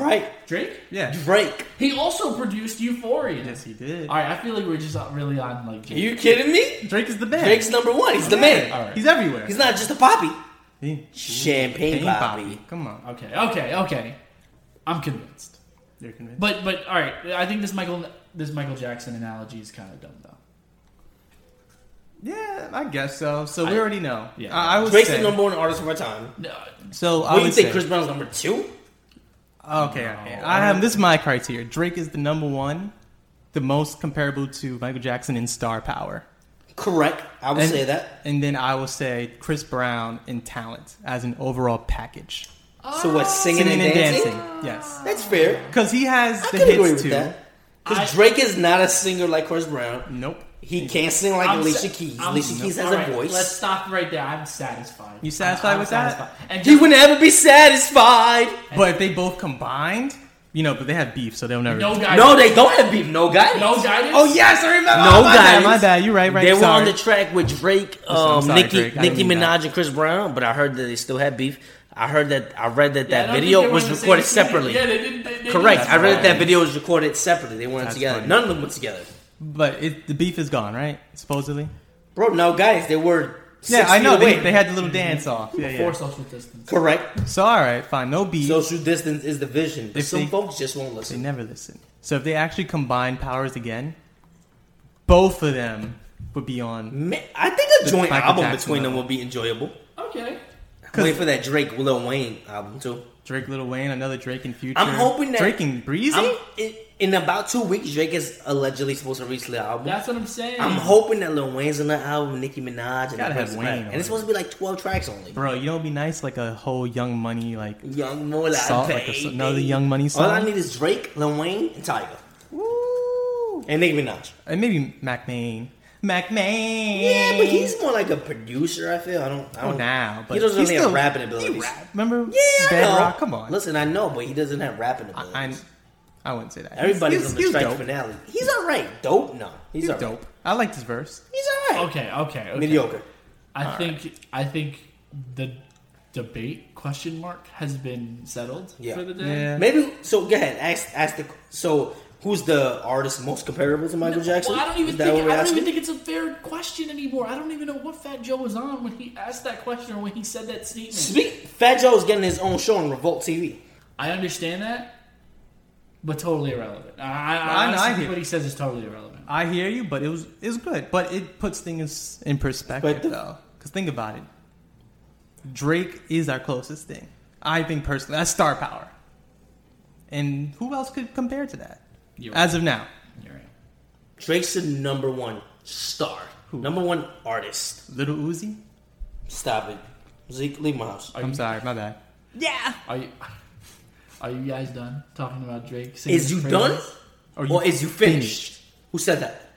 Speaker 5: Drake.
Speaker 7: Yeah.
Speaker 11: Drake.
Speaker 5: He also produced Euphoria. Yes,
Speaker 7: he did.
Speaker 5: All right, I feel like we're just not really on like.
Speaker 11: you kidding me?
Speaker 7: Drake is the man.
Speaker 11: Drake's number one. He's the
Speaker 5: Okay.
Speaker 11: man.
Speaker 5: All right.
Speaker 7: He's everywhere.
Speaker 11: He's not just a poppy.
Speaker 7: Champagne
Speaker 11: Champagne
Speaker 7: poppy.
Speaker 11: poppy.
Speaker 7: Come on.
Speaker 5: Okay, okay, okay. I'm convinced.
Speaker 7: You're convinced.
Speaker 5: But but all right, I think this Michael this Michael Jackson analogy is kind of dumb though.
Speaker 7: yeah, I guess so. So we already know.
Speaker 5: Yeah.
Speaker 7: I, I would
Speaker 11: Drake's
Speaker 7: say.
Speaker 11: the number one artist of our time.
Speaker 7: so I
Speaker 11: what do you
Speaker 7: would
Speaker 11: think?
Speaker 7: say-
Speaker 11: Chris Brown's number two.
Speaker 7: Okay, okay. I have this is my criteria. Drake is the number one, the most comparable to Michael Jackson in star power.
Speaker 11: Correct. I would
Speaker 7: And-
Speaker 11: say that.
Speaker 7: And then I will say Chris Brown in talent as an overall package.
Speaker 11: So what? Singing, and dancing.
Speaker 7: Yes.
Speaker 11: That's fair.
Speaker 7: Because he has
Speaker 11: can
Speaker 7: the hits
Speaker 11: agree with
Speaker 7: too.
Speaker 11: that. Because Drake is not a singer like Chris Brown.
Speaker 7: Nope.
Speaker 11: He can't sing like
Speaker 5: I'm
Speaker 11: Alicia
Speaker 5: sa-
Speaker 11: Keys.
Speaker 5: I'm-
Speaker 11: Alicia Keys has
Speaker 5: all right,
Speaker 11: a voice.
Speaker 5: Let's stop right there. I'm satisfied.
Speaker 7: You satisfied
Speaker 5: I'm
Speaker 7: with that?
Speaker 5: And
Speaker 11: He would never be satisfied.
Speaker 7: But if they both combined, you know, but they have beef, so they'll never.
Speaker 5: No guidance.
Speaker 11: No, they don't have beef. No guidance.
Speaker 5: No guidance?
Speaker 11: Oh yes, I remember.
Speaker 7: No
Speaker 11: oh, my Bad,
Speaker 7: guidance. My bad. You're right, right.
Speaker 11: They were
Speaker 7: Sorry.
Speaker 11: on the track with Drake,
Speaker 7: I'm
Speaker 11: um,
Speaker 7: sorry,
Speaker 11: Nicki,
Speaker 7: Drake. I didn't
Speaker 11: Nicki
Speaker 7: mean that.
Speaker 11: Minaj, and Chris Brown. But I heard that they still had beef. I heard that. I read that
Speaker 5: Yeah, I
Speaker 11: that
Speaker 5: don't think they
Speaker 11: video
Speaker 5: were
Speaker 11: was
Speaker 5: in the same
Speaker 11: recorded
Speaker 5: studio.
Speaker 11: separately.
Speaker 5: Yeah, they didn't- they- they didn't-
Speaker 11: Correct.
Speaker 5: That's
Speaker 11: I read that that
Speaker 7: funny.
Speaker 11: video was recorded separately. They weren't
Speaker 7: That's
Speaker 11: together.
Speaker 7: funny.
Speaker 11: None of them were together.
Speaker 7: But it, the beef is gone, right? Supposedly.
Speaker 11: Bro, no guys, they were.
Speaker 7: Yeah,
Speaker 11: six
Speaker 7: I know.
Speaker 11: feet
Speaker 7: They,
Speaker 11: away. Mm-hmm.
Speaker 7: they had the little dance off. Yeah,
Speaker 5: Before
Speaker 7: yeah.
Speaker 5: social distance.
Speaker 11: Correct.
Speaker 7: So all right, fine. No beef.
Speaker 11: Social distance is the vision. But
Speaker 7: If
Speaker 11: some
Speaker 7: they-
Speaker 11: folks just won't
Speaker 7: They
Speaker 11: listen.
Speaker 7: never listen. So if they actually combine powers again, both of them would be on.
Speaker 11: Ma- I think a
Speaker 7: The
Speaker 11: joint
Speaker 7: Michael
Speaker 11: album
Speaker 7: Jackson
Speaker 11: between them
Speaker 7: level.
Speaker 11: will be enjoyable.
Speaker 5: Okay.
Speaker 11: Wait for that Drake Lil Wayne album too.
Speaker 7: Drake, Little Wayne, another Drake in future.
Speaker 11: I'm hoping that
Speaker 7: Drake and Breezy.
Speaker 11: I'm- in, in about two weeks, Drake is allegedly supposed to release the album.
Speaker 5: That's what I'm saying.
Speaker 11: I'm hoping that Lil Wayne's on the album, Nicki Minaj, and
Speaker 7: Gotta have
Speaker 11: Chris
Speaker 7: Wayne
Speaker 11: Brown.
Speaker 7: on
Speaker 11: and
Speaker 7: it.
Speaker 11: it's supposed to be like 12 tracks only.
Speaker 7: Bro, you know it'd be nice like a whole Young Money like
Speaker 11: Young Money,
Speaker 7: song, like a,
Speaker 11: baby.
Speaker 7: so- another Young Money song,
Speaker 11: All I need is Drake, Lil Wayne, and Tiger. And Nicki Minaj.
Speaker 7: and maybe MacMaine. MacMaine.
Speaker 11: Yeah, but he's more like a producer. I feel I don't. I
Speaker 7: Oh,
Speaker 11: don't
Speaker 7: now, but
Speaker 11: he doesn't
Speaker 7: he's
Speaker 11: really
Speaker 7: still-
Speaker 11: have rapping
Speaker 7: he
Speaker 11: abilities.
Speaker 7: rap. Remember?
Speaker 11: Yeah, I know.
Speaker 7: Bedrock. Come on.
Speaker 11: Listen, I know, but he doesn't have rapping abilities.
Speaker 7: I, I wouldn't say that.
Speaker 11: Everybody's
Speaker 7: He's-
Speaker 11: on the
Speaker 7: he's
Speaker 11: track
Speaker 7: dope.
Speaker 11: finale. He's all right. Dope? No, he's,
Speaker 7: He's
Speaker 11: all right.
Speaker 7: dope. I liked his verse.
Speaker 11: He's all right.
Speaker 5: Okay, okay, okay.
Speaker 11: Mediocre.
Speaker 5: I
Speaker 7: All
Speaker 5: think I think the debate question mark has been settled
Speaker 11: Yeah.
Speaker 5: for the day.
Speaker 11: Maybe so. Go ahead. Ask. Ask the. So who's the artist most comparable to Michael Jackson?
Speaker 5: Well, I don't even
Speaker 11: Is that
Speaker 5: think
Speaker 11: what we're
Speaker 5: I don't
Speaker 11: asking?
Speaker 5: even think it's a fair question anymore. I don't even know what Fat Joe was on when he asked that question or when he said that statement.
Speaker 11: Speak. Fat Joe's getting his own show on Revolt TV.
Speaker 5: I understand that, but totally irrelevant. I, I,
Speaker 7: I know, I
Speaker 5: honestly
Speaker 7: hear
Speaker 5: think what he says is totally irrelevant.
Speaker 7: I hear you, but it was it's good. But it puts things in perspective, though. Because think about it, Drake is our closest thing. I think personally, that's star power. And who else could compare to that?
Speaker 11: You're
Speaker 7: As
Speaker 11: right.
Speaker 7: of now,
Speaker 11: Drake's the number one star, number one artist.
Speaker 7: Little Uzi.
Speaker 11: Stop it, Zeke. Leave my house.
Speaker 7: I'm sorry, my bad.
Speaker 11: Yeah.
Speaker 5: Are you (laughs) Are you guys done talking about Drake? singing
Speaker 11: Is you
Speaker 5: his
Speaker 11: done,
Speaker 5: praises?
Speaker 11: or, is you finished? Who said that?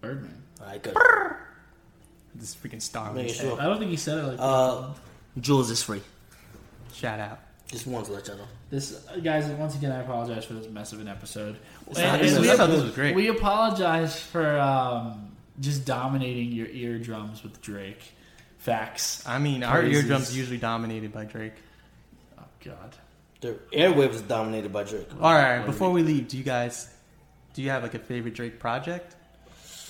Speaker 5: Birdman.
Speaker 11: I good.
Speaker 7: This freaking star.
Speaker 11: Make
Speaker 7: was
Speaker 11: sure.
Speaker 7: dead.
Speaker 5: I don't think he said it like
Speaker 11: Uh, Jules is free.
Speaker 7: Shout out.
Speaker 11: Just wanted to let y'all know.
Speaker 5: This uh, guys, once again, I apologize for this mess of an episode.
Speaker 11: It's not- this is- I thought this was great.
Speaker 5: We apologize for um, just dominating your eardrums with Drake facts.
Speaker 7: I mean, our
Speaker 5: praises.
Speaker 7: eardrums usually dominated by Drake.
Speaker 5: Oh God.
Speaker 11: The airwave was dominated by Drake.
Speaker 7: All right, before we leave, do you guys do you have like a favorite Drake project?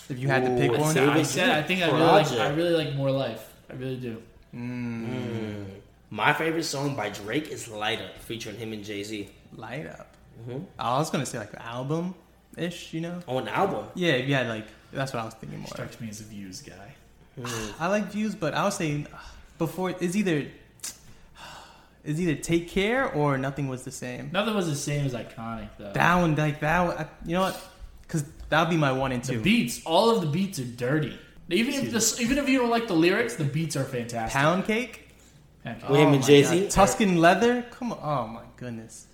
Speaker 7: If you had to pick
Speaker 11: Ooh,
Speaker 7: one,
Speaker 5: I said I think I really like I really like more life. I really do.
Speaker 11: Mm. My favorite song by Drake is "Light Up," featuring him and Jay Z.
Speaker 7: Light Up.
Speaker 11: Mm-hmm.
Speaker 7: I was gonna say like the album ish, you know?
Speaker 11: Oh, an album.
Speaker 7: Yeah, if you had like that's what I was thinking more.
Speaker 5: Strikes me as a views guy.
Speaker 7: I like views, but I was saying uh, before it's either it's either take care or nothing was the same.
Speaker 5: Nothing was the same as iconic though.
Speaker 7: That one, like that one, I, you know what? Because that'll be my one and two.
Speaker 5: The beats, all of the beats are dirty. Even if this, even if you don't like the lyrics, the beats are fantastic.
Speaker 7: Pound cake.
Speaker 5: Pound Cake.
Speaker 7: Oh my God. Tuscan leather. Come on. Oh my goodness.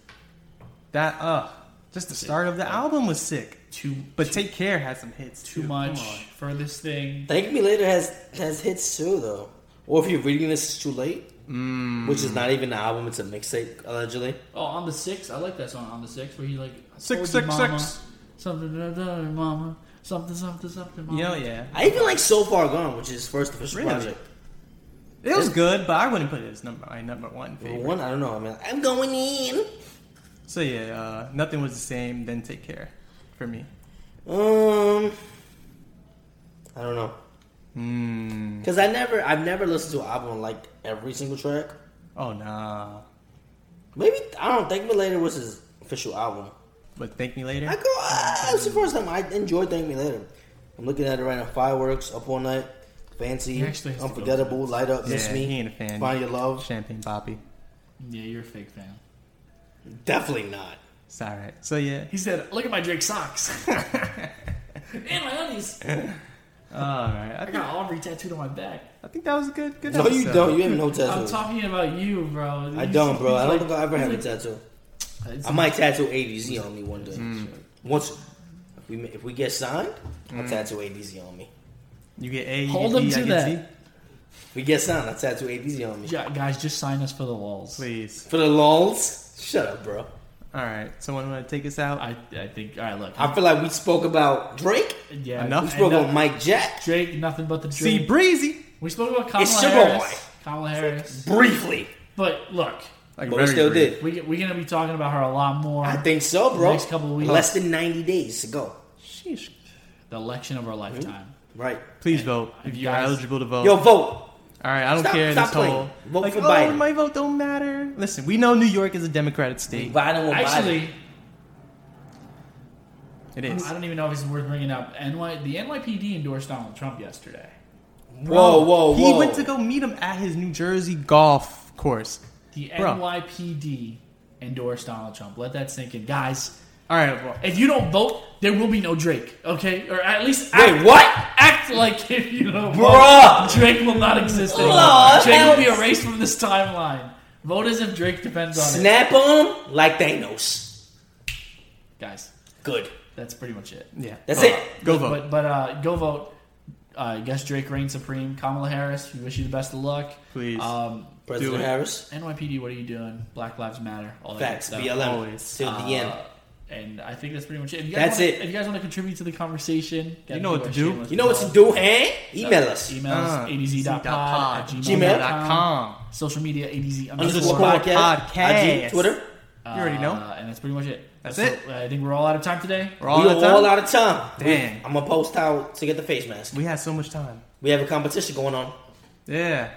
Speaker 7: That uh, just the start of the album was sick.
Speaker 5: Too,
Speaker 7: but take care had some hits.
Speaker 5: Too much for this thing.
Speaker 11: Thank Me Later has has hits too, though. Or if you're reading this, it's too late.
Speaker 7: Mm.
Speaker 11: Which is not even an album; it's a mixtape, allegedly.
Speaker 5: Oh, on the six, I like that song on the six where he like I
Speaker 11: Six,
Speaker 5: told you,
Speaker 11: six,
Speaker 5: mama,
Speaker 11: six.
Speaker 5: something, da, da, da, mama, something, something, something. Mama.
Speaker 7: You know, yeah.
Speaker 11: I even like "So Far Gone," which is his first official
Speaker 7: Really?
Speaker 11: project.
Speaker 7: It was good, but I wouldn't put it as number my number one favorite.
Speaker 11: one, I don't know. I mean, I'm going in.
Speaker 7: So yeah, uh, nothing was the same. Then take care, for me.
Speaker 11: Um, I don't know.
Speaker 7: Mm.
Speaker 11: Cause I never, I've never listened to an album and liked every single track.
Speaker 7: Oh nah.
Speaker 11: Maybe I don't. Thank Me Later was his official album.
Speaker 7: But Thank Me Later.
Speaker 11: I go. Ah, that's the first time I enjoyed Thank Me Later. I'm looking at it right now. Fireworks, Up All Night, Fancy,
Speaker 5: He actually has to go
Speaker 11: Unforgettable,
Speaker 5: for
Speaker 11: Light Up,
Speaker 7: yeah,
Speaker 11: Miss Me,
Speaker 7: He ain't a fan.
Speaker 11: Find Your Love.
Speaker 7: Champagne Poppy.
Speaker 5: Yeah, you're a fake fan.
Speaker 11: Definitely not.
Speaker 7: It's all right. So yeah.
Speaker 5: He said, "Look at my Drake (laughs) socks and my undies.
Speaker 7: all right. I
Speaker 5: I
Speaker 7: think,
Speaker 5: got Aubrey tattooed on my back."
Speaker 7: I think that was a good. good
Speaker 11: No, you
Speaker 7: episode.
Speaker 11: don't. You have no
Speaker 5: I'm
Speaker 11: tattoos.
Speaker 5: talking about you, bro.
Speaker 11: I
Speaker 5: You-
Speaker 11: don't, bro. I don't
Speaker 5: like-
Speaker 11: think I'll ever have a
Speaker 5: he's like-
Speaker 11: tattoo.
Speaker 5: It's- Mm.
Speaker 11: I might tattoo ADZ on me one day. Once, if we if we get signed, I'll
Speaker 7: Mm.
Speaker 11: tattoo ADZ on me.
Speaker 7: You get A. You
Speaker 5: Hold
Speaker 7: get
Speaker 5: him
Speaker 7: B, I
Speaker 5: to
Speaker 7: get
Speaker 5: that.
Speaker 7: Z.
Speaker 11: If we get signed, I'll tattoo ADZ on me.
Speaker 5: Yeah, guys, just sign us for the walls,
Speaker 7: please.
Speaker 11: For the lols, shut up, bro.
Speaker 7: All right. Someone want to take us out?
Speaker 5: I, I think. All right, look.
Speaker 11: I feel like we spoke about Drake.
Speaker 5: Yeah,
Speaker 11: we spoke about Mike Jack.
Speaker 5: Drake, nothing but the Drake.
Speaker 11: See,
Speaker 7: breezy.
Speaker 5: We spoke about Kamala
Speaker 11: It's your
Speaker 5: Harris.
Speaker 11: boy.
Speaker 5: Kamala Harris.
Speaker 11: Briefly.
Speaker 5: But look.
Speaker 11: Like, But we very still brief. did.
Speaker 5: We, we're going to be talking about her a lot more.
Speaker 11: I think so, bro.
Speaker 5: Next couple of weeks.
Speaker 11: Less than 90 days to go.
Speaker 7: Sheesh.
Speaker 5: the election of our lifetime.
Speaker 11: Right.
Speaker 7: Please vote if you are
Speaker 5: guys-
Speaker 7: eligible to vote.
Speaker 11: Yo, vote.
Speaker 7: All right, I don't
Speaker 11: Stop-
Speaker 7: care
Speaker 11: stop
Speaker 7: this
Speaker 11: playing.
Speaker 7: whole
Speaker 11: Vote
Speaker 7: like,
Speaker 11: for
Speaker 7: oh,
Speaker 11: Biden.
Speaker 7: My vote don't matter. Listen, we know New York is a Democratic state.
Speaker 11: Biden will
Speaker 5: Actually,
Speaker 7: it is.
Speaker 5: I don't even know if it's worth bringing up. NY, the NYPD endorsed Donald Trump yesterday.
Speaker 11: Whoa, whoa,
Speaker 7: He
Speaker 11: whoa.
Speaker 7: went to go meet him at his New Jersey golf course.
Speaker 5: The
Speaker 7: Bro.
Speaker 5: NYPD endorsed Donald Trump. Let that sink in, guys.
Speaker 7: All right, well,
Speaker 5: If you don't vote, there will be no Drake. Okay, or at least
Speaker 11: Wait,
Speaker 5: act,
Speaker 11: what?
Speaker 5: Act like if you don't
Speaker 11: Bruh.
Speaker 5: vote, Drake will not exist anymore.
Speaker 11: Lord,
Speaker 5: Drake will be
Speaker 11: help.
Speaker 5: erased from this timeline. Vote as if Drake depends on it.
Speaker 11: Snap on him like Thanos.
Speaker 5: Guys,
Speaker 11: Good.
Speaker 5: that's pretty much it.
Speaker 7: Yeah.
Speaker 11: That's it.
Speaker 7: Go
Speaker 5: But- But
Speaker 7: vote.
Speaker 5: but uh, go vote. Uh, I guess Drake reigns supreme. Kamala Harris, we wish you the best of luck.
Speaker 7: Please.
Speaker 5: Um,
Speaker 11: President
Speaker 5: do it.
Speaker 11: Harris.
Speaker 5: NYPD, what are you doing? Black Lives Matter. All that
Speaker 11: Facts.
Speaker 5: Good stuff.
Speaker 11: BLM. Always. Till the
Speaker 5: Uh,
Speaker 11: end.
Speaker 5: And I think that's pretty much it. If you guys
Speaker 11: That's
Speaker 5: wanna,
Speaker 11: it.
Speaker 5: If you guys want to contribute to the conversation, gotta
Speaker 7: know what
Speaker 5: our
Speaker 7: to do.
Speaker 5: shameless
Speaker 11: You know what to
Speaker 5: plug.
Speaker 11: do, eh? Email us.
Speaker 5: Email us
Speaker 7: Uh,
Speaker 5: adz.pod at
Speaker 7: gmail.com.
Speaker 5: gmail.com. Social media adz
Speaker 11: Underscore podcast. IG, Twitter.
Speaker 5: Uh,
Speaker 7: You already know.
Speaker 5: Uh, and that's pretty much it.
Speaker 7: That's it.
Speaker 5: I think we're all out of time today.
Speaker 7: We're all We out of are time? all out of time.
Speaker 5: Damn.
Speaker 7: Damn.
Speaker 11: I'm gonna post out to get the face mask.
Speaker 7: We had so much time.
Speaker 11: We have a competition going on.
Speaker 7: Yeah.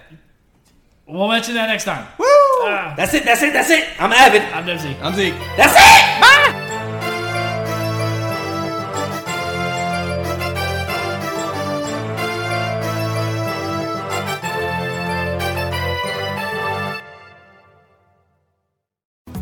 Speaker 5: We'll mention that next time.
Speaker 7: Woo!
Speaker 5: Ah.
Speaker 11: that's it. That's it. That's it. I'm Avid.
Speaker 5: I'm Dempsey.
Speaker 7: I'm Zeke.
Speaker 11: That's it.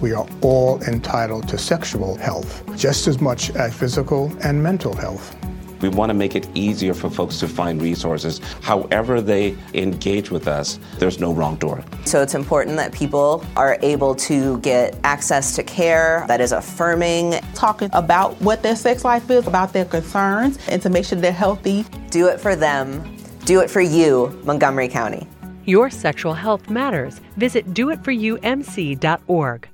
Speaker 14: We are all entitled to sexual health just as much as physical and mental health.
Speaker 1: We want to make it easier for folks to find resources. However, they engage with us, there's no wrong door.
Speaker 3: So it's important that people are able to get access to care that is affirming.
Speaker 2: Talking about what their sex life is, about their concerns, and to make sure they're healthy.
Speaker 3: Do it for them. Do it for you, Montgomery County.
Speaker 4: Your sexual health matters. Visit doitforyoumc.org.